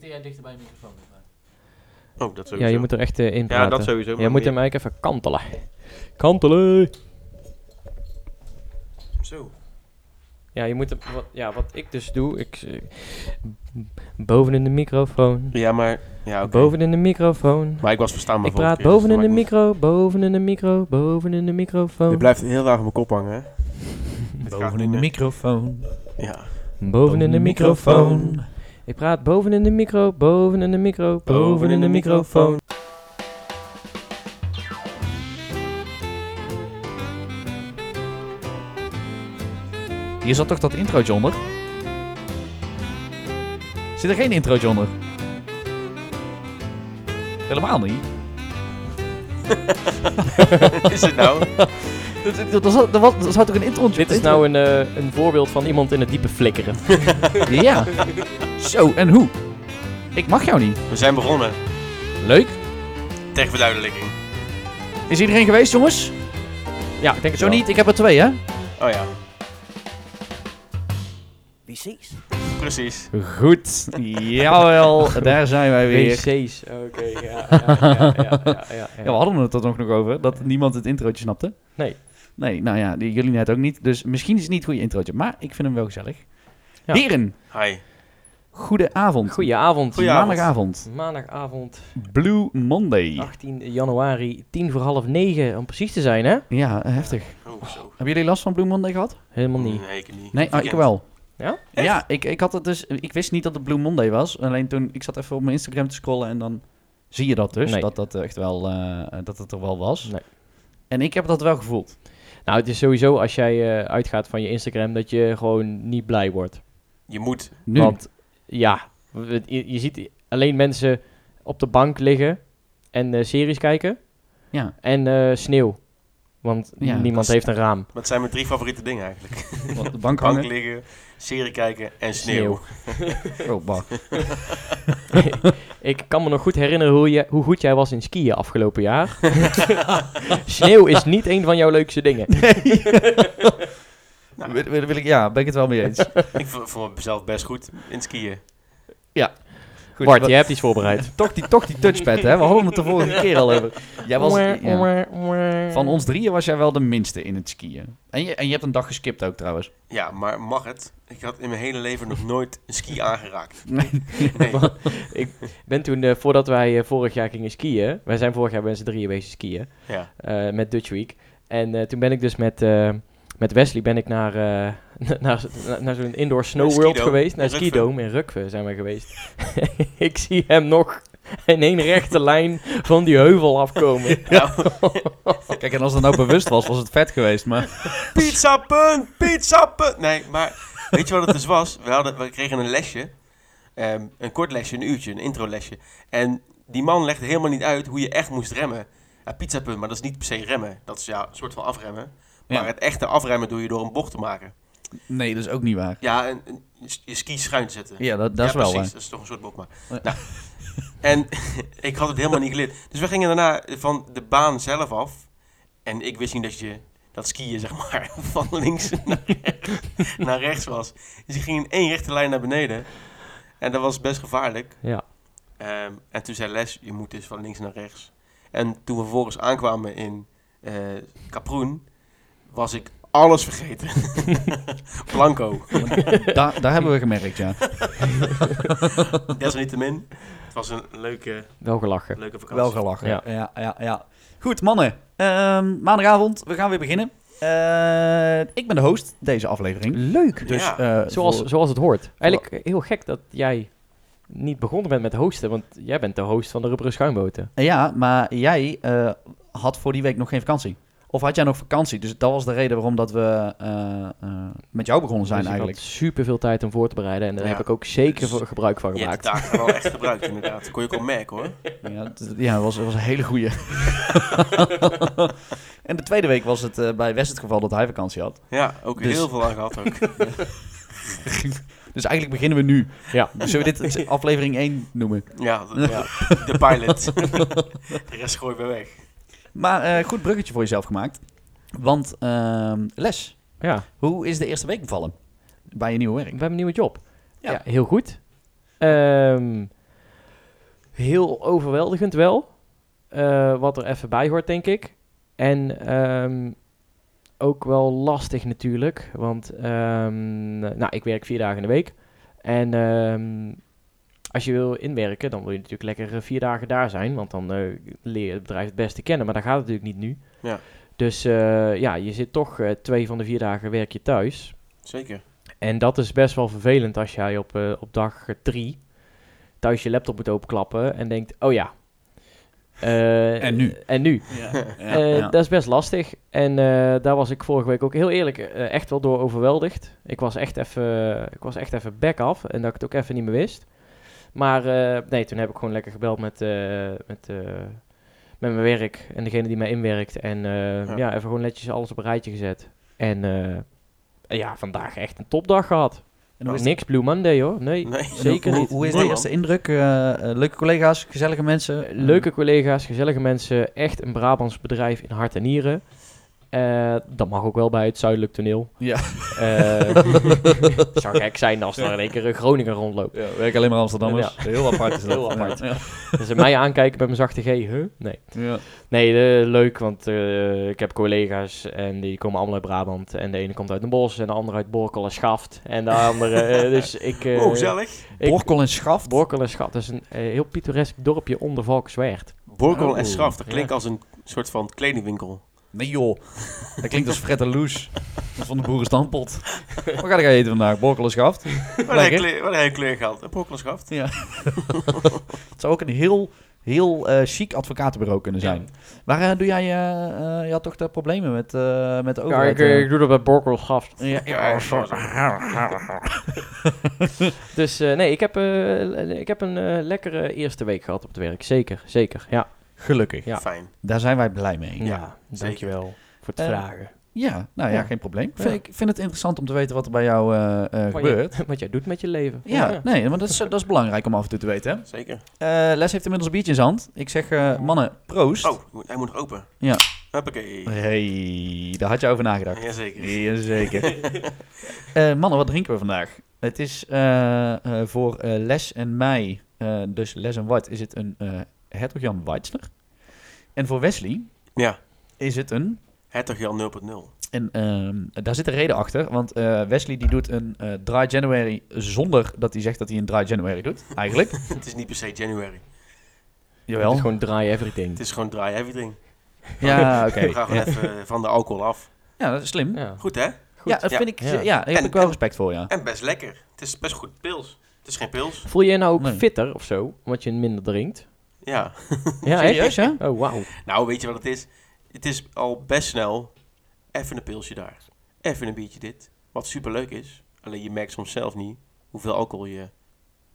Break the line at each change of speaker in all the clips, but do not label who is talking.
jij dichter bij je microfoon moet blijven.
Oh, dat sowieso.
Ja, je moet er echt eh, in
ja
praten.
dat sowieso.
Jij
maar
moet
meer-
hem eigenlijk even kantelen. Kantelen!
Zo.
Ja, je moet hem, wat, ja, wat ik dus doe, ik... eh, boven in de microfoon.
Ja, maar... Ja, oké.
Boven in de microfoon.
Maar ik was verstaanbaar
Ik praat
dus
boven in de micro, boven in de micro, boven in de microfoon.
Je blijft heel laag aan mijn kop hangen, hè? Het gaat
Boven
niet
in de
meer.
microfoon.
Ja.
Boven in de microfoon. Ik praat boven in de micro, boven in de micro, boven in de microfoon.
Hier zat toch dat introotje onder? Zit er geen introotje onder? Helemaal niet.
Is het nou?
Er- Er er zat- er was- er zat toch een introotje
Dit is nou een, eh, een voorbeeld van iemand in het diepe flikkeren.
Ja. Zo, en hoe? Ik mag jou niet.
We zijn begonnen.
Leuk.
Ter verduidelijking.
Is iedereen geweest, jongens?
Ja, ik denk het
Zo
wel.
niet, ik heb er twee, hè?
Oh ja. Precies.
Goed. Jawel, daar zijn wij weer.
WC's. Oké, ja, ja, ja, ja, ja, ja,
Ja, we hadden het er toch nog over, dat niemand het introotje snapte.
Nee.
Nee, nou ja, die- jullie net ook niet. Dus misschien is het niet het goede introotje, maar ik vind hem wel gezellig.
Ja.
Heren,
Hi.
goedenavond.
Goedenavond.
Goeie- Goedenavond.
Maandagavond.
Maandagavond,
Blue Monday.
18 januari, 10 voor half 9 om precies te zijn, hè?
Ja, eh, heftig.
Oh, zo.
Hebben jullie last van Blue Monday gehad?
Helemaal niet.
Nee, ik niet.
Nee, ah, ik wel.
Ja?
Ja, ik, ik had het dus. Ik wist niet dat het Blue Monday was. Alleen toen ik zat even op mijn Instagram te scrollen en dan zie je dat dus.
Nee.
Dat dat echt wel eh, dat het er wel was.
Nee.
En ik heb dat wel gevoeld.
Nou, het is sowieso als jij eh, uitgaat van je Instagram dat je gewoon niet blij wordt.
Je moet.
Nu.
Want ja, we- je, je ziet alleen mensen op de bank liggen en eh, series kijken
Ja.
en eh, sneeuw. Want
Ja,
niemand
dat is-
heeft een raam.
Dat zijn mijn drie favoriete dingen eigenlijk.
Op de bank
Bank
hangen.
liggen, serie kijken en sneeuw.
Oh, bah.
Ik kan me nog goed herinneren hoe, je, hoe goed jij was in skiën afgelopen jaar. Sneeuw is niet een van jouw leukste dingen.
Nou.
Wil, wil- wil ik, ja, ben ik het wel mee eens.
Ik vo- vond mezelf best goed in skiën.
Goed,
Bart,
wat-
jij hebt iets voorbereid.
toch, die, toch die touchpad, hè? We hadden het de vorige keer al over. Jij was,
Mwah,
ja.
mwah, mwah.
Van ons drieën was jij wel de minste in het skiën. En je, en je hebt een dag geskipt ook trouwens.
Ja, maar mag het? Ik had in mijn hele leven nog nooit een ski aangeraakt.
Nee.
Nee.
Ik ben toen, eh, voordat wij eh, vorig jaar gingen skiën... Wij zijn vorig jaar met z'n drieën wezen skiën.
Ja.
eh, met Dutch Week. En eh, toen ben ik dus met, eh, met Wesley ben ik naar, eh, naar, naar, naar zo'n indoor snow
Ski
world
Dome
geweest. Naar
in
Ski
Rukven.
Dome in Rukve zijn we geweest. ik zie hem nog in één rechte lijn van die heuvel afkomen.
Kijk, en als dat nou bewust was, was het vet geweest. Maar
Pizza punt, pizza punt. Nee, maar weet je wat het dus was? We, hadden, we kregen een lesje, ehm, een kort lesje, een uurtje, een intro lesje. En die man legde helemaal niet uit hoe je echt moest remmen. Ja, pizza punt, maar dat is niet per se remmen. Dat is ja, een soort van afremmen. Maar
Ja.
het echte afremmen doe je door een bocht te maken.
nee, dat is ook niet waar.
Ja, en, en je ski schuin te zetten.
Ja, dat, dat is
ja,
wel
precies.
waar.
Dat is toch een soort bocht, maar.
Ja.
Nou, en ik had het helemaal niet geleerd. Dus we gingen daarna van de baan zelf af. En ik wist niet dat je dat skiën, zeg maar, van links naar, rechts- naar rechts was. Dus ik ging in één rechte lijn naar beneden. En dat was best gevaarlijk.
Ja.
Ehm, en toen zei Les, je moet dus van links naar rechts. En toen we vervolgens aankwamen in eh Kaproen, was ik alles vergeten. Blanco.
Da, daar hebben we gemerkt, ja.
Desalniettemin, het was een leuke,
Wel gelachen.
leuke vakantie.
Wel gelachen.
Ja.
Ja, ja, ja. Goed, mannen. Ehm, maandagavond, we gaan weer beginnen. Eh, ik ben de host deze aflevering.
Leuk.
Dus,
Ja.
eh,
Zoals,
voor-
zoals het hoort. Eigenlijk eh, heel gek dat jij niet begonnen bent met hosten, want jij bent de host van de Rubberen Schuimboten.
Ja, maar jij eh, had voor die week nog geen vakantie. Of had jij nog vakantie? Dus dat was de reden waarom dat we eh, eh, met jou begonnen zijn
Dus ik had
eigenlijk.
super veel tijd om voor te bereiden en daar
Ja.
heb ik ook zeker
Dus-
voor- gebruik van
Je hebt
gemaakt.
de taken wel echt gebruikt, inderdaad. Kon je ook al merken, hoor.
Ja, het ja, het was, het was een hele goeie. en de tweede week was het eh, bij West het geval dat hij vakantie had.
Ja, ook
Dus-
heel veel aan gehad ook.
Dus eigenlijk beginnen we nu.
Ja.
Zullen we dit aflevering 1 noemen?
Ja, d- ja, de pilot. de rest gooi we weg.
Maar eh, goed bruggetje voor jezelf gemaakt. Want ehm, Les,
Ja.
hoe is de eerste week bevallen? Bij je nieuwe werk.
We hebben een nieuwe job. Ja,
Ja.
heel goed. Ehm, heel overweldigend wel. eh, wat er even bij hoort, denk ik. En ehm, ook wel lastig natuurlijk. Want ehm, nou, ik werk vier dagen in de week. En ehm, als je wil inwerken, dan wil je natuurlijk lekker eh, vier dagen daar zijn. Want dan eh, leer je het bedrijf het beste kennen. Maar daar gaat het natuurlijk niet nu.
Ja.
Dus eh, ja, je zit toch eh, twee van de vier dagen werk je thuis.
Zeker.
En dat is best wel vervelend als jij op, eh, op dag eh, drie thuis je laptop moet openklappen en denkt, oh ja. eh,
En nu?
En nu.
Ja.
Eh,
ja.
Dat is best lastig. En eh, daar was ik vorige week ook heel eerlijk eh, echt wel door overweldigd. Ik was echt even, ik was echt even back af en dat ik het ook even niet meer wist. Maar eh, nee, toen heb ik gewoon lekker gebeld met, eh, met, eh, met mijn werk en degene die mij inwerkt. En eh,
Ja.
ja. even gewoon netjes alles op een rijtje gezet. En eh, ja, vandaag echt een topdag gehad.
En hoe is- Mm.
Niks Nou, Blue Monday hoor, nee.
Nee.
Zeker
hoe,
niet.
Hoe is
Nee,
de
man.
eerste indruk? Eh, eh, leuke collega's, gezellige mensen.
Eh, Leuke collega's, gezellige mensen. Echt een Brabants bedrijf in hart en nieren. Eh, dat mag ook wel bij het zuidelijk toneel.
Ja.
Eh, het zou gek zijn als er in één keer een Groninger rondloopt.
Ja, werk alleen maar Amsterdammers. Heel apart is dat.
Heel apart.
Ja.
Dat ze mij aankijken met mijn zachte G. Huh? Nee,
Ja.
nee eh, leuk, want eh, ik heb collega's en die komen allemaal uit Brabant. En de ene komt uit Den Bosch en de andere uit Borkel en Schaft. En de andere... eh, dus ik, eh,
Oh, gezellig.
ik-
Borkel en Schaft.
Borkel en Schaft, dat is een eh, heel pittoresk dorpje onder Valkenswaard.
Borkel
Oh,
en Schaf, dat klinkt
ja.
als een soort van kledingwinkel.
Nee joh, dat klinkt als Fred en Loes. Dat is van de boerenstandpot. Wat ga ik eten vandaag? Borkel en Schaft.
Waar heb je kleur- waar heb je kleur gehad? Een Borkel en Schaf.
Het zou ook een heel, heel eh chic advocatenbureau kunnen zijn. Maar eh, doe jij, eh, eh, je had toch de problemen met, eh, met de
Ja,
overheid?
ik, eh, ik doe dat bij Borkel en Schaft.
eh? ja, ja, oh, sorry.
Dus eh, nee, ik heb, eh, ik heb een eh, lekkere eerste week gehad op het werk. Zeker, zeker. Ja,
Gelukkig.
Ja.
Fijn.
Daar zijn wij blij mee.
ja, dankjewel voor het
Eh,
vragen.
Ja, nou ja,
Ja.
geen probleem.
Ja.
Ik vind het interessant om te weten wat er bij jou eh, eh,
Wat je-
gebeurt.
wat jij doet met je leven.
Ja, nee, want dat is, eh, dat is belangrijk om af en toe te weten. Hè?
Zeker.
Eh, Les heeft inmiddels een biertje in zijn hand. Ik zeg, eh, mannen, proost.
Oh, hij moet- hij moet nog open.
Ja. Oh,
Huppakee.
Hey, daar had je over nagedacht.
Jazeker.
Jazeker. Eh, mannen, wat drinken we vandaag? Het is eh, eh, voor eh, Les en mij, eh, dus Les en Wat, is het een eh Hertog Jan Weizner. En voor Wesley
Ja,
is het een...
Hertog Jan 0.0.
En ehm, daar zit een reden achter, want eh, Wesley die doet een eh Dry January zonder dat hij zegt dat hij een Dry January doet, eigenlijk.
Het is niet per se January.
Het is
Jawel.
gewoon dry everything.
Het is gewoon dry everything.
Ja, oké.
We gaan gewoon
Ja.
even eh, van de alcohol af.
Ja, dat is slim.
Ja.
Goed hè?
Goed.
Ja, dat
Ja.
vind ik... Ja,
Ja.
daar heb
En-
ik wel
en-
respect voor, ja.
En best lekker. Het is best goed pils. Het is geen pils.
Voel je je nou ook
Nee.
fitter of zo, omdat je minder drinkt?
Ja.
Ja, echt?
Serieus, hè?
Oh, wauw.
Nou, weet je wat het is? Het is al best snel even een pilsje daar. Even een biertje dit. Wat superleuk is. Alleen je merkt soms zelf niet hoeveel alcohol je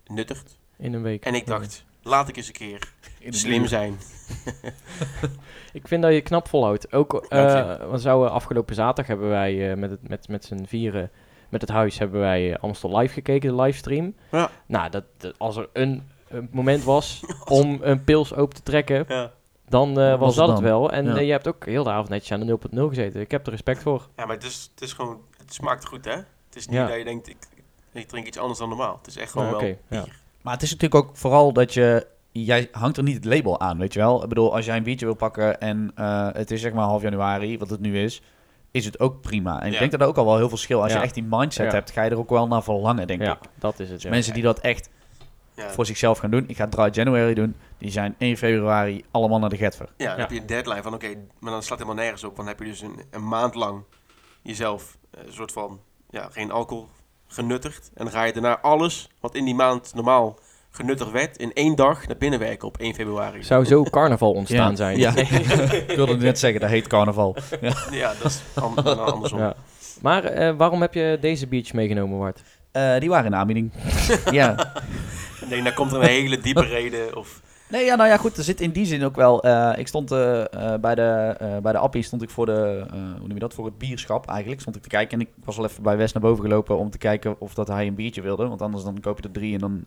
nuttigt.
In een week.
En ik dacht, laat ik eens een keer slim zijn.
Ik vind dat je knap volhoudt. Ook,
Dank je.
eh want zouden afgelopen zaterdag hebben wij eh, met, het, met, met z'n vieren, met het huis, hebben wij eh, Amstel Live gekeken, de livestream.
Ja.
Nou, dat, dat- als er een, een moment was om een pils open te trekken,
Ja.
dan eh, was,
Was het
dat het
dan?
wel. En
Ja.
eh, je hebt ook heel de avond netjes aan de 0.0 gezeten. Ik heb er respect voor.
ja, maar het is, het is gewoon, het smaakt goed hè? Het is niet
Ja.
dat je denkt, ik, ik drink iets anders dan normaal. Het is echt gewoon
Nou,
wel
oké, ja.
bier.
Maar het is natuurlijk ook vooral dat je... Jij hangt er niet het label aan, weet je wel? Ik bedoel, als jij een biertje wil pakken en eh, het is zeg maar half januari, wat het nu is, is het ook prima. En ik
Ja.
denk dat er ook al wel heel veel verschil. Als
Ja.
je echt die mindset
Ja.
hebt, ga je er ook wel naar verlangen, denk
Ja,
ik.
dat is het. ja.
Dus Mensen die dat echt
Ja.
voor zichzelf gaan doen, ik ga Dry January doen, die zijn 1 februari allemaal naar de getver.
Ja, dan
Ja.
heb je een deadline van oké, maar dan slaat het helemaal nergens op. Want dan heb je dus een, een maand lang jezelf eh, een soort van ja, geen alcohol genuttigd. En dan ga je daarna alles wat in die maand normaal genuttigd werd, in één dag naar binnen werken op 1 februari.
Zou zo carnaval ontstaan
Ja.
zijn.
Ja. ik wilde net zeggen, dat heet carnaval.
Ja, dat is an- dan andersom.
Ja. Maar eh, waarom heb je deze biertje meegenomen, Wart?
Eh, die waren in aanbieding. ja,
Ik denk, daar komt er een hele diepe reden. Of,
Nee, ja, nou ja, goed. Er zit in die zin ook wel. eh, ik stond eh, eh, bij de, eh, bij de appie stond ik voor de, eh, hoe noem je dat, voor het bierschap eigenlijk. Stond ik te kijken en ik was al even bij West naar boven gelopen om te kijken of dat hij een biertje wilde. Want anders dan koop je er drie en dan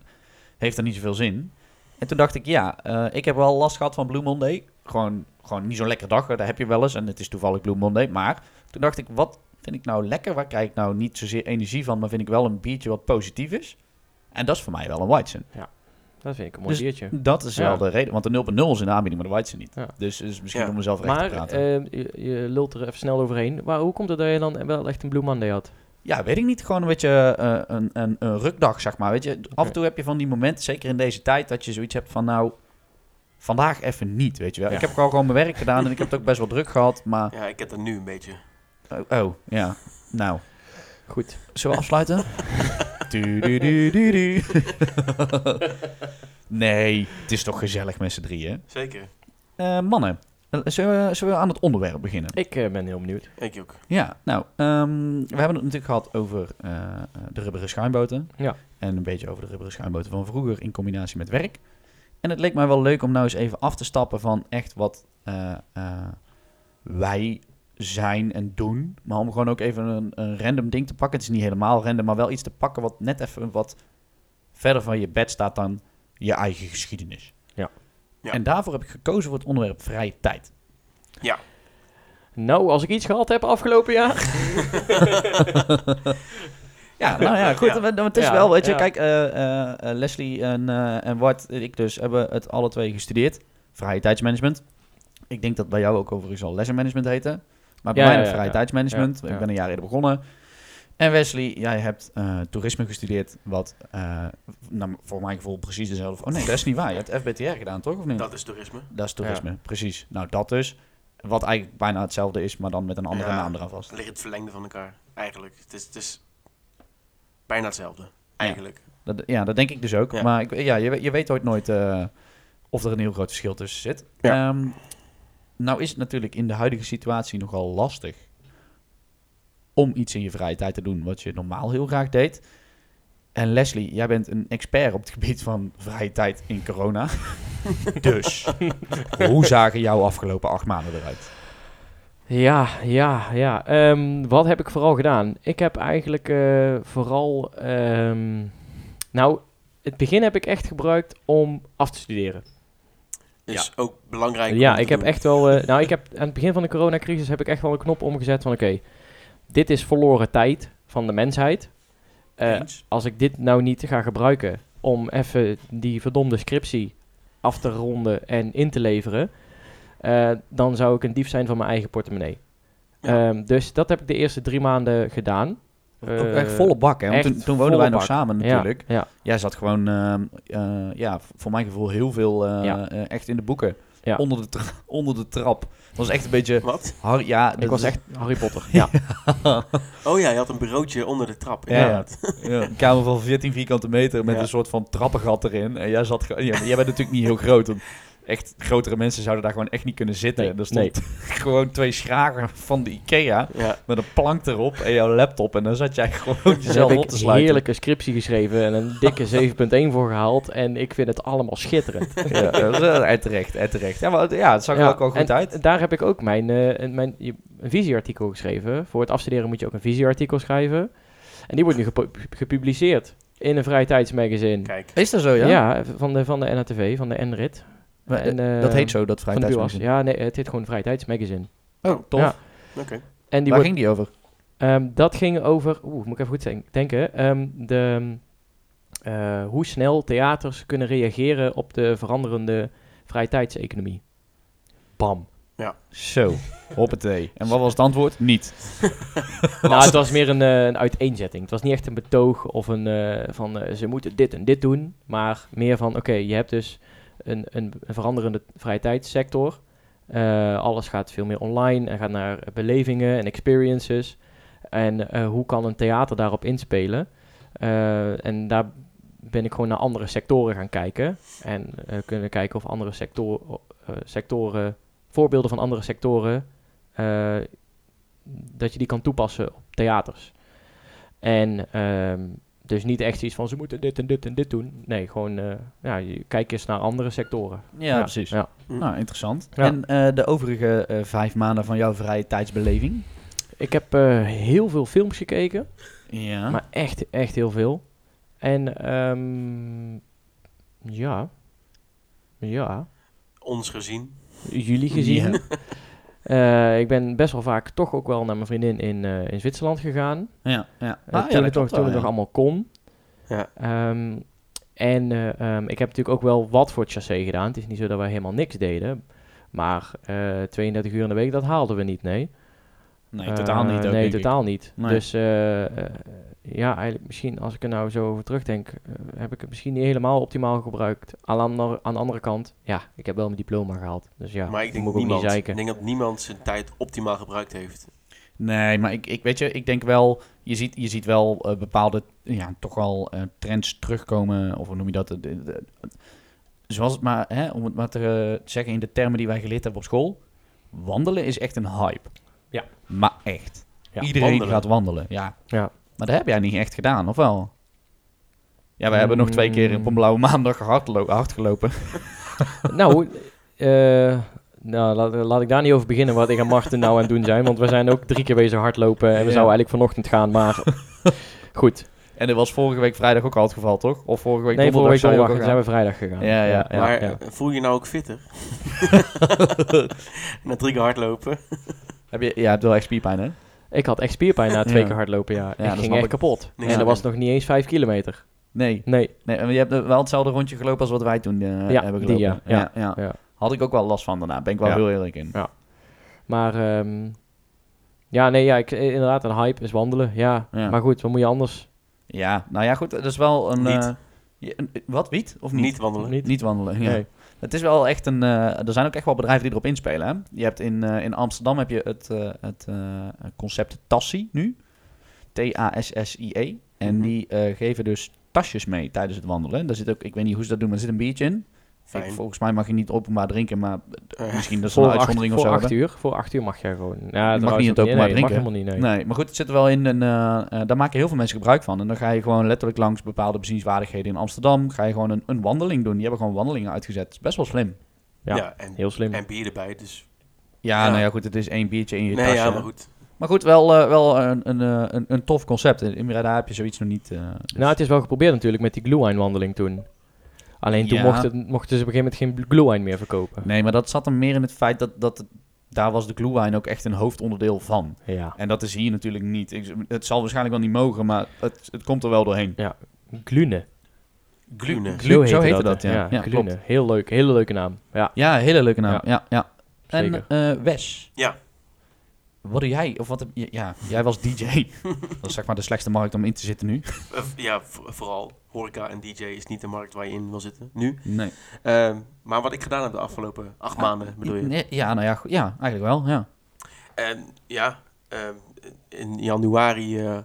heeft dat niet zoveel zin. En toen dacht ik, ja, eh, ik heb wel last gehad van Blue Monday. Gewoon, gewoon niet zo'n lekker dag, daar heb je wel eens. En het is toevallig Blue Monday. Maar toen dacht ik, wat vind ik nou lekker? Waar krijg ik nou niet zozeer energie van, maar vind ik wel een biertje wat positief is? En dat is voor mij wel een Weizen.
Dat vind ik een mooi
Dus-
biertje.
Dat is wel
Ja.
de reden, want de 0.0 is in de aanbieding, maar dat weet ze niet.
Ja.
Dus, dus misschien
Ja.
om mezelf recht te
Maar
praten.
eh, je, je lult er even snel overheen. Maar hoe komt het dat je dan wel echt een Blue Monday had?
Ja, weet ik niet. Gewoon een beetje eh, een, een, een rukdag, zeg maar. Weet je, af en toe heb je van die momenten, zeker in deze tijd, dat je zoiets hebt van nou, vandaag even niet, weet je wel.
Ja.
Ik heb gewoon, gewoon mijn werk gedaan en ik heb het ook best wel druk gehad, maar...
Ja, ik heb dat nu een beetje.
Oh, oh, ja. Nou,
Goed.
zullen we afsluiten? Du- du- du- du- du. nee, het is toch gezellig met z'n drieën.
Zeker.
Eh, mannen, eh, zullen we, zullen we aan het onderwerp beginnen?
Ik eh, ben heel benieuwd.
Ik ook.
Ja, nou, ehm, we hebben het natuurlijk gehad over eh, de rubberen schuimboten.
Ja.
En een beetje over de rubberen schuimboten van vroeger in combinatie met werk. En het leek mij wel leuk om nou eens even af te stappen van echt wat eh, eh, wij zijn en doen. Maar om gewoon ook even een, een random ding te pakken. Het is niet helemaal random, maar wel iets te pakken wat net even wat verder van je bed staat dan je eigen geschiedenis.
Ja.
Ja.
En daarvoor heb ik gekozen voor het onderwerp vrije tijd.
Nou, als ik iets gehad heb afgelopen jaar.
Ja, nou ja, goed.
Ja.
want Het is
Ja,
wel, weet je,
ja.
kijk, eh, eh, eh, Leslie en, eh en Wart en ik dus hebben het alle twee gestudeerd. Vrije tijdsmanagement. Ik denk dat bij jou ook overigens al lessenmanagement heette. Maar bij
Ja,
mij
ja,
nog
ja,
vrije
ja.
tijdsmanagement.
Ja,
Ik
ja.
ben een jaar eerder begonnen. En Wesley, jij hebt eh, toerisme gestudeerd, wat eh, nou, voor mijn gevoel precies dezelfde... Oh nee, dat is niet waar. Je hebt FBTR gedaan, toch? Of
Hm.
niet?
Dat is toerisme.
Dat is toerisme, precies. Nou, dat dus. Wat eigenlijk bijna hetzelfde is, maar dan met een andere
Ja.
naam eraan vast.
Het ligt het verlengde van elkaar. Eigenlijk. Het is, het is bijna hetzelfde. Eigenlijk.
Dat, ja, dat denk ik dus ook.
Ja.
Maar ik, ja, je, weet- je weet ooit nooit eh, of er een heel groot verschil tussen zit.
Ja.
Ehm, nou is het natuurlijk in de huidige situatie nogal lastig om iets in je vrije tijd te doen wat je normaal heel graag deed. En Leslie, jij bent een expert op het gebied van vrije tijd in corona. dus, hoe zagen jouw afgelopen acht maanden eruit?
Ja, ja, ja. Ehm, wat heb ik vooral gedaan? Ik heb eigenlijk eh, vooral. ehm, nou, het begin heb ik echt gebruikt om af te studeren.
Is ook belangrijk. om
Ja,
te
ik heb
doen.
echt wel. eh, nou, ik heb aan het begin van de coronacrisis heb ik echt wel een knop omgezet van oké, dit is verloren tijd van de mensheid. Eh,
Eens?
als ik dit nou niet ga gebruiken om even die verdomde scriptie af te ronden en in te leveren, eh, dan zou ik een dief zijn van mijn eigen portemonnee.
Ja.
Ehm, dus dat heb ik de eerste drie maanden gedaan.
ook
Eh,
echt volle bak, hè? Want
echt
toen, toen woonden wij
volle
nog
bak.
samen
ja,
natuurlijk.
Ja,
Jij zat gewoon, ehm, eh, ja, v- voor mijn gevoel heel veel eh,
Ja.
eh, echt in de boeken.
Ja.
Onder, de tra- onder de trap. Dat was echt een beetje...
Wat?
Har- ja,
ik
dat
was
is-
echt Harry Potter. Ja,
Oh ja, je had een bureautje onder de trap.
Ja, ja. ja, een kamer van 14 vierkante meter met
Ja.
een soort van trappengat erin. En jij zat... ge- Ja, maar jij bent natuurlijk niet heel groot. want echt grotere mensen zouden daar gewoon echt niet kunnen zitten.
Nee,
er stond gewoon twee schragen van de Ikea
Ja.
met een plank erop en jouw laptop. En dan zat jij gewoon
Dus heb
jezelf op
ik
te sluiten.
heerlijke scriptie geschreven en een dikke 7.1 voor gehaald. En ik vind het allemaal schitterend.
Ja, dat is, eh, en terecht, en terecht. Ja, maar het- ja, het zag er
Ja,
ook wel goed
en
uit.
Daar heb ik ook mijn, eh, een- mijn je- een visieartikel geschreven. Voor het afstuderen moet je ook een visieartikel schrijven. En die wordt nu gepu- gepubliceerd in een vrije tijdsmagazine.
Kijk.
Is dat zo,
ja, van, de, van de NHTV, van de NRIT.
Oh Maar, eh,
En, eh,
dat heet zo, dat
Van de Duas.
vrijtijdsmagazine.
Ja, nee, het heet gewoon vrije tijdsmagazine.
Oh, tof.
Ja.
Oké.
En die
Waar
wordt,
ging die over?
ehm, dat ging over, oeh, moet ik even goed zen- denken, ehm, de, eh, hoe snel theaters kunnen reageren op de veranderende vrije tijdseconomie. Bam.
Zo, hoppatee. En wat was het antwoord? Niet.
Nou, het was meer een, eh, een uiteenzetting. Het was niet echt een betoog of een eh, van eh, ze moeten dit en dit doen. Maar meer van oké, je hebt dus een, een, een veranderende vrije tijdssector. Eh, alles gaat veel meer online en gaat naar eh, belevingen en experiences. En eh, hoe kan een theater daarop inspelen? Eh, en daar ben ik gewoon naar andere sectoren gaan kijken. En eh, kunnen kijken of andere sector, eh, sectoren, voorbeelden van andere sectoren eh, dat je die kan toepassen op theaters. En ehm, dus niet echt iets van ze moeten dit en dit en dit doen. Nee, gewoon eh, ja, je kijk eens naar andere sectoren.
Ja, precies.
ja.
Nou, interessant.
Ja.
En eh, de overige eh, vijf maanden van jouw vrije tijdsbeleving?
Ik heb eh, heel veel films gekeken,
Ja.
maar echt, echt heel veel. En ehm, ja, ja,
Ons gezien.
jullie gezien.
Ja.
Eh, ik ben best wel vaak toch ook wel naar mijn vriendin in, eh, in Zwitserland gegaan.
ja, ja.
Eh,
Ah, ja,
toen
dat
het, nog,
klopt
toen
wel,
het nog
ja.
allemaal kon.
Ja.
Ehm, En eh, ehm, ik heb natuurlijk ook wel wat voor het chassé gedaan. Het is niet zo dat wij helemaal niks deden. Maar eh, 32 uur in de week, dat haalden we niet, nee.
Ah, Nee, totaal
Eh,
niet. Ook,
nee,
denk ik.
totaal niet.
Nee.
Dus eh, eh, ja, eigenlijk misschien als ik er nou zo over terugdenk, eh, heb ik het misschien niet helemaal optimaal gebruikt. Aan, ander- aan de andere kant, ja, ik heb wel mijn diploma gehaald. Dus ja,
maar ik denk,
moet
dat
ik ook niet
niemand,
zeiken.
ik denk dat niemand zijn tijd optimaal gebruikt heeft.
Nee, maar ik, ik weet je, ik denk wel, je ziet, je ziet wel eh, bepaalde, ja, toch wel eh, trends terugkomen, of hoe noem je dat? De- de- de- zoals het maar, hè, om het maar te eh, zeggen in de termen die wij geleerd hebben op school, wandelen is echt een hype.
Ja.
Maar echt.
Ja,
Iedereen
wandelen.
gaat wandelen, ja.
Ja.
Maar dat heb jij niet echt gedaan, of wel? Ja, we hebben nog twee keer op een
Mm.
blauwe maandag hardlo- hardgelopen.
nou, eh, nou laat, laat ik daar niet over beginnen wat ik en Marten nou aan het doen zijn. Want we zijn ook drie keer bezig hardlopen. En we
Ja.
zouden eigenlijk vanochtend gaan, maar goed.
En dat was vorige week vrijdag ook al het geval, toch? Of vorige week
Nee, vorige
donderdag
week
zou je ook
donderdag
al
zijn we vrijdag gegaan.
Ja, ja, ja.
maar eh, voel je nou ook fitter? Na drie keer hardlopen.
gaan. Heb je, ja, je hebt wel echt spierpijn, hè?
Ik had echt spierpijn na twee
Ja.
keer hardlopen, ja.
Ja,
ik
dat
ging
snap
echt
ik.
kapot.
Ja.
En dat was nog niet eens vijf kilometer.
Nee.
Nee.
Nee, en je hebt eh, wel hetzelfde rondje gelopen als wat wij toen eh,
Ja,
hebben gelopen.
die, ja. Ja, ja.
Had ik ook wel last van daarna, ben ik wel
Ja.
heel eerlijk in.
Maar ehm, ja, nee, ja, ik, eh, inderdaad, een hype is wandelen. Ja.
Ja.
maar goed, wat moet je anders?
Ja, nou ja, goed, dat is wel een...
Niet.
eh, je- een- wat, wiet? Of niet?
Niet wandelen.
Niet.
Niet wandelen, ja.
Nee.
Het is wel echt een... eh, er zijn ook echt wel bedrijven die erop inspelen, hè. Je hebt in, eh, in Amsterdam heb je het, eh, het eh, concept Tassie nu. T-A-S-S-I-E. E. En
Mhm.
die eh, geven dus tasjes mee tijdens het wandelen. Daar zit ook, ik weet niet hoe ze dat doen, maar er zit een biertje in. Ik,
Fijn.
volgens mij mag je niet openbaar drinken, maar
Eh,
misschien dat is
Voor
een
acht,
uitzondering of zo.
voor
hè?
acht uur. Voor acht uur mag jij gewoon. Ja,
Je mag
trouwens
niet
ook
het openbaar
nee, dat
drinken.
mag helemaal niet, nee.
Nee, maar goed, het zit er wel in. Een, eh, eh, daar maken heel veel mensen gebruik van. En dan ga je gewoon letterlijk langs bepaalde bezienswaardigheden in Amsterdam. Ga je gewoon een, een wandeling doen. Die hebben gewoon wandelingen uitgezet. Dat is best wel slim.
ja.
Ja.
en,
Heel slim.
en bier erbij, dus...
Ja,
Ja.
nou ja, goed, het is één biertje in je
Nee,
tasje.
ja, maar goed.
Maar goed, wel, eh, wel een, een, eh, een, een tof concept. In Merida heb je zoiets nog niet. eh, dus-
Nou, het is wel geprobeerd natuurlijk met die glühwein wandeling toen. Alleen toen
Ja.
mochten, mochten ze op een gegeven moment geen glühwein meer verkopen.
Nee, maar dat zat hem meer in het feit dat, dat daar was de glühwein ook echt een hoofdonderdeel van.
Ja.
En dat is hier natuurlijk niet. Ik- het zal waarschijnlijk wel niet mogen, maar het, het komt er wel doorheen.
Glühne.
Glühne.
Glu- zo heette dat, ja. Ja,
glühne.
klopt.
Heel leuk. Hele leuke naam. Ja,
Ja, hele leuke naam.
Ja.
ja, ja.
zeker.
En eh, Wes.
Ja.
Wat doe jij? Of wat heb je- Ja, jij was DJ. dat is zeg maar de slechtste markt om in te zitten nu.
Eh, ja, vo- vooral horeca en DJ is niet de markt waar je in wil zitten nu.
Nee.
Ehm, maar wat ik gedaan heb de afgelopen acht maanden, bedoel je?
Ja, nou ja, go- ja eigenlijk wel. Ja.
En ja, ehm, in januari eh,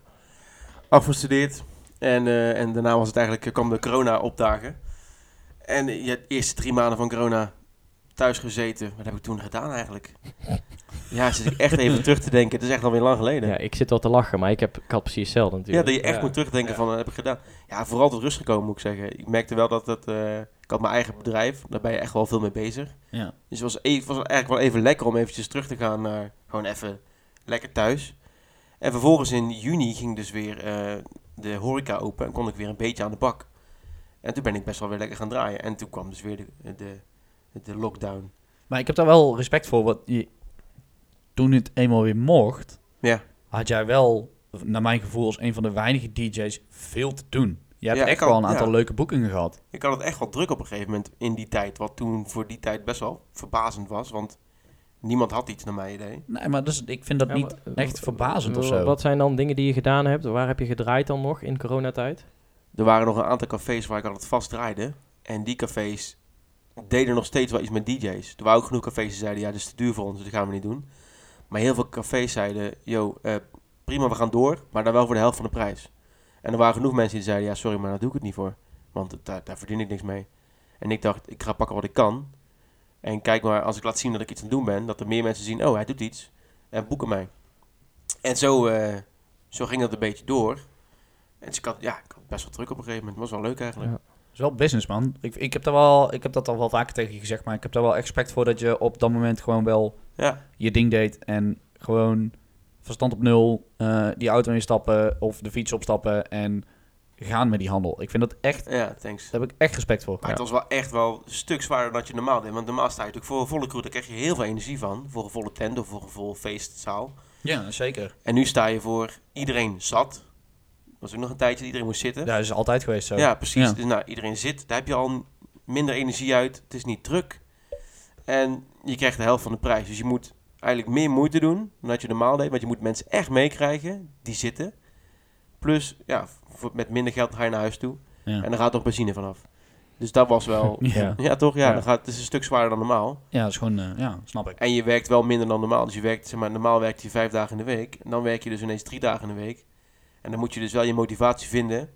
afgestudeerd. En, eh, en daarna was het eigenlijk, eh, kwam de corona opdagen. En eh, ja, de eerste drie maanden van corona thuis gezeten. Wat heb ik toen gedaan eigenlijk? ja, zit ik echt even terug te denken. Het is echt alweer lang geleden.
ja,
Ja,
ik zit wel te lachen, maar ik, heb, ik had precies hetzelfde natuurlijk.
dat je echt
Ja.
moet terugdenken
Ja.
van, wat heb ik gedaan? Ja, vooral tot rust gekomen moet ik zeggen. Ik merkte wel dat dat, eh, ik had mijn eigen bedrijf. Daar ben je echt wel veel mee bezig.
ja.
Dus het was, even, was eigenlijk wel even lekker om eventjes terug te gaan naar gewoon even lekker thuis. En vervolgens in juni ging dus weer eh, de horeca open en kon ik weer een beetje aan de bak. En toen ben ik best wel weer lekker gaan draaien. En toen kwam dus weer de, de, de lockdown.
Maar ik heb daar wel respect voor. Want je, toen het eenmaal weer mocht,
Ja.
had jij wel, naar mijn gevoel, als een van de weinige DJ's veel te doen. Je hebt
Ja, ik
echt
kan-
wel een aantal
ja.
leuke boekingen gehad.
Ik had het echt wel druk op een gegeven moment in die tijd. Wat toen voor die tijd best wel verbazend was. Want niemand had iets naar mijn idee.
Nee, maar dus, ik vind dat
Ja,
niet
maar- eh,
echt verbazend of
w-
zo.
Wat zijn dan dingen die je gedaan hebt? Waar heb je gedraaid dan nog in coronatijd?
Er waren nog een aantal cafés waar ik altijd vast draaide. En die cafés deden nog steeds wel iets met DJ's. Er waren ook genoeg cafés die zeiden, ja, dit is te duur voor ons, dat gaan we niet doen. Maar heel veel cafés zeiden, yo, eh, prima, we gaan door, maar dan wel voor de helft van de prijs. En er waren genoeg mensen die zeiden, ja, sorry, maar daar doe ik het niet voor. Want het- daar, daar verdien ik niks mee. En ik dacht, ik ga pakken wat ik kan. En kijk maar, als ik laat zien dat ik iets aan het doen ben, dat er meer mensen zien, oh, hij doet iets. En boeken mij. En zo, eh, zo ging dat een beetje door. En dus ik had, ja, ik had best wel druk op een gegeven moment. Het was wel leuk eigenlijk.
Ja.
Dat is wel business, man. Ik, ik, heb daar wel, ik heb dat al wel vaker tegen je gezegd, maar ik heb daar wel echt respect voor dat je op dat moment gewoon wel
Ja.
je ding deed en gewoon verstand op nul, eh, die auto instappen of de fiets opstappen en gaan met die handel. Ik vind dat echt,
Ja, thanks.
daar heb ik echt respect voor.
Maar het was wel echt wel een stuk zwaarder dan je normaal deed. Want normaal sta je natuurlijk voor een volle crew. Daar krijg je heel veel energie van. Voor een volle tent of voor een volle feestzaal.
Ja, zeker.
En nu sta je voor iedereen zat. was ook nog een tijdje dat iedereen moest zitten.
Ja, dat is altijd geweest zo.
Ja, precies.
Ja.
Dus nou, iedereen zit. Daar heb je al m- minder energie uit. Het is niet druk. En je krijgt de helft van de prijs. Dus je moet eigenlijk meer moeite doen dan dat je normaal deed. Want je moet mensen echt meekrijgen die zitten. Plus, ja, voor- met minder geld ga je naar huis toe.
Ja.
En dan gaat toch benzine vanaf. Dus dat was wel...
Ja.
ja, toch? Ja,
Ja.
Dan gaat, het is een stuk zwaarder dan normaal.
Ja, dat is gewoon, eh, ja, snap ik.
En je werkt wel minder dan normaal. Dus je werkt, zeg maar, normaal werkt je vijf dagen in de week. En dan werk je dus ineens drie dagen in de week. En dan moet je dus wel je motivatie vinden.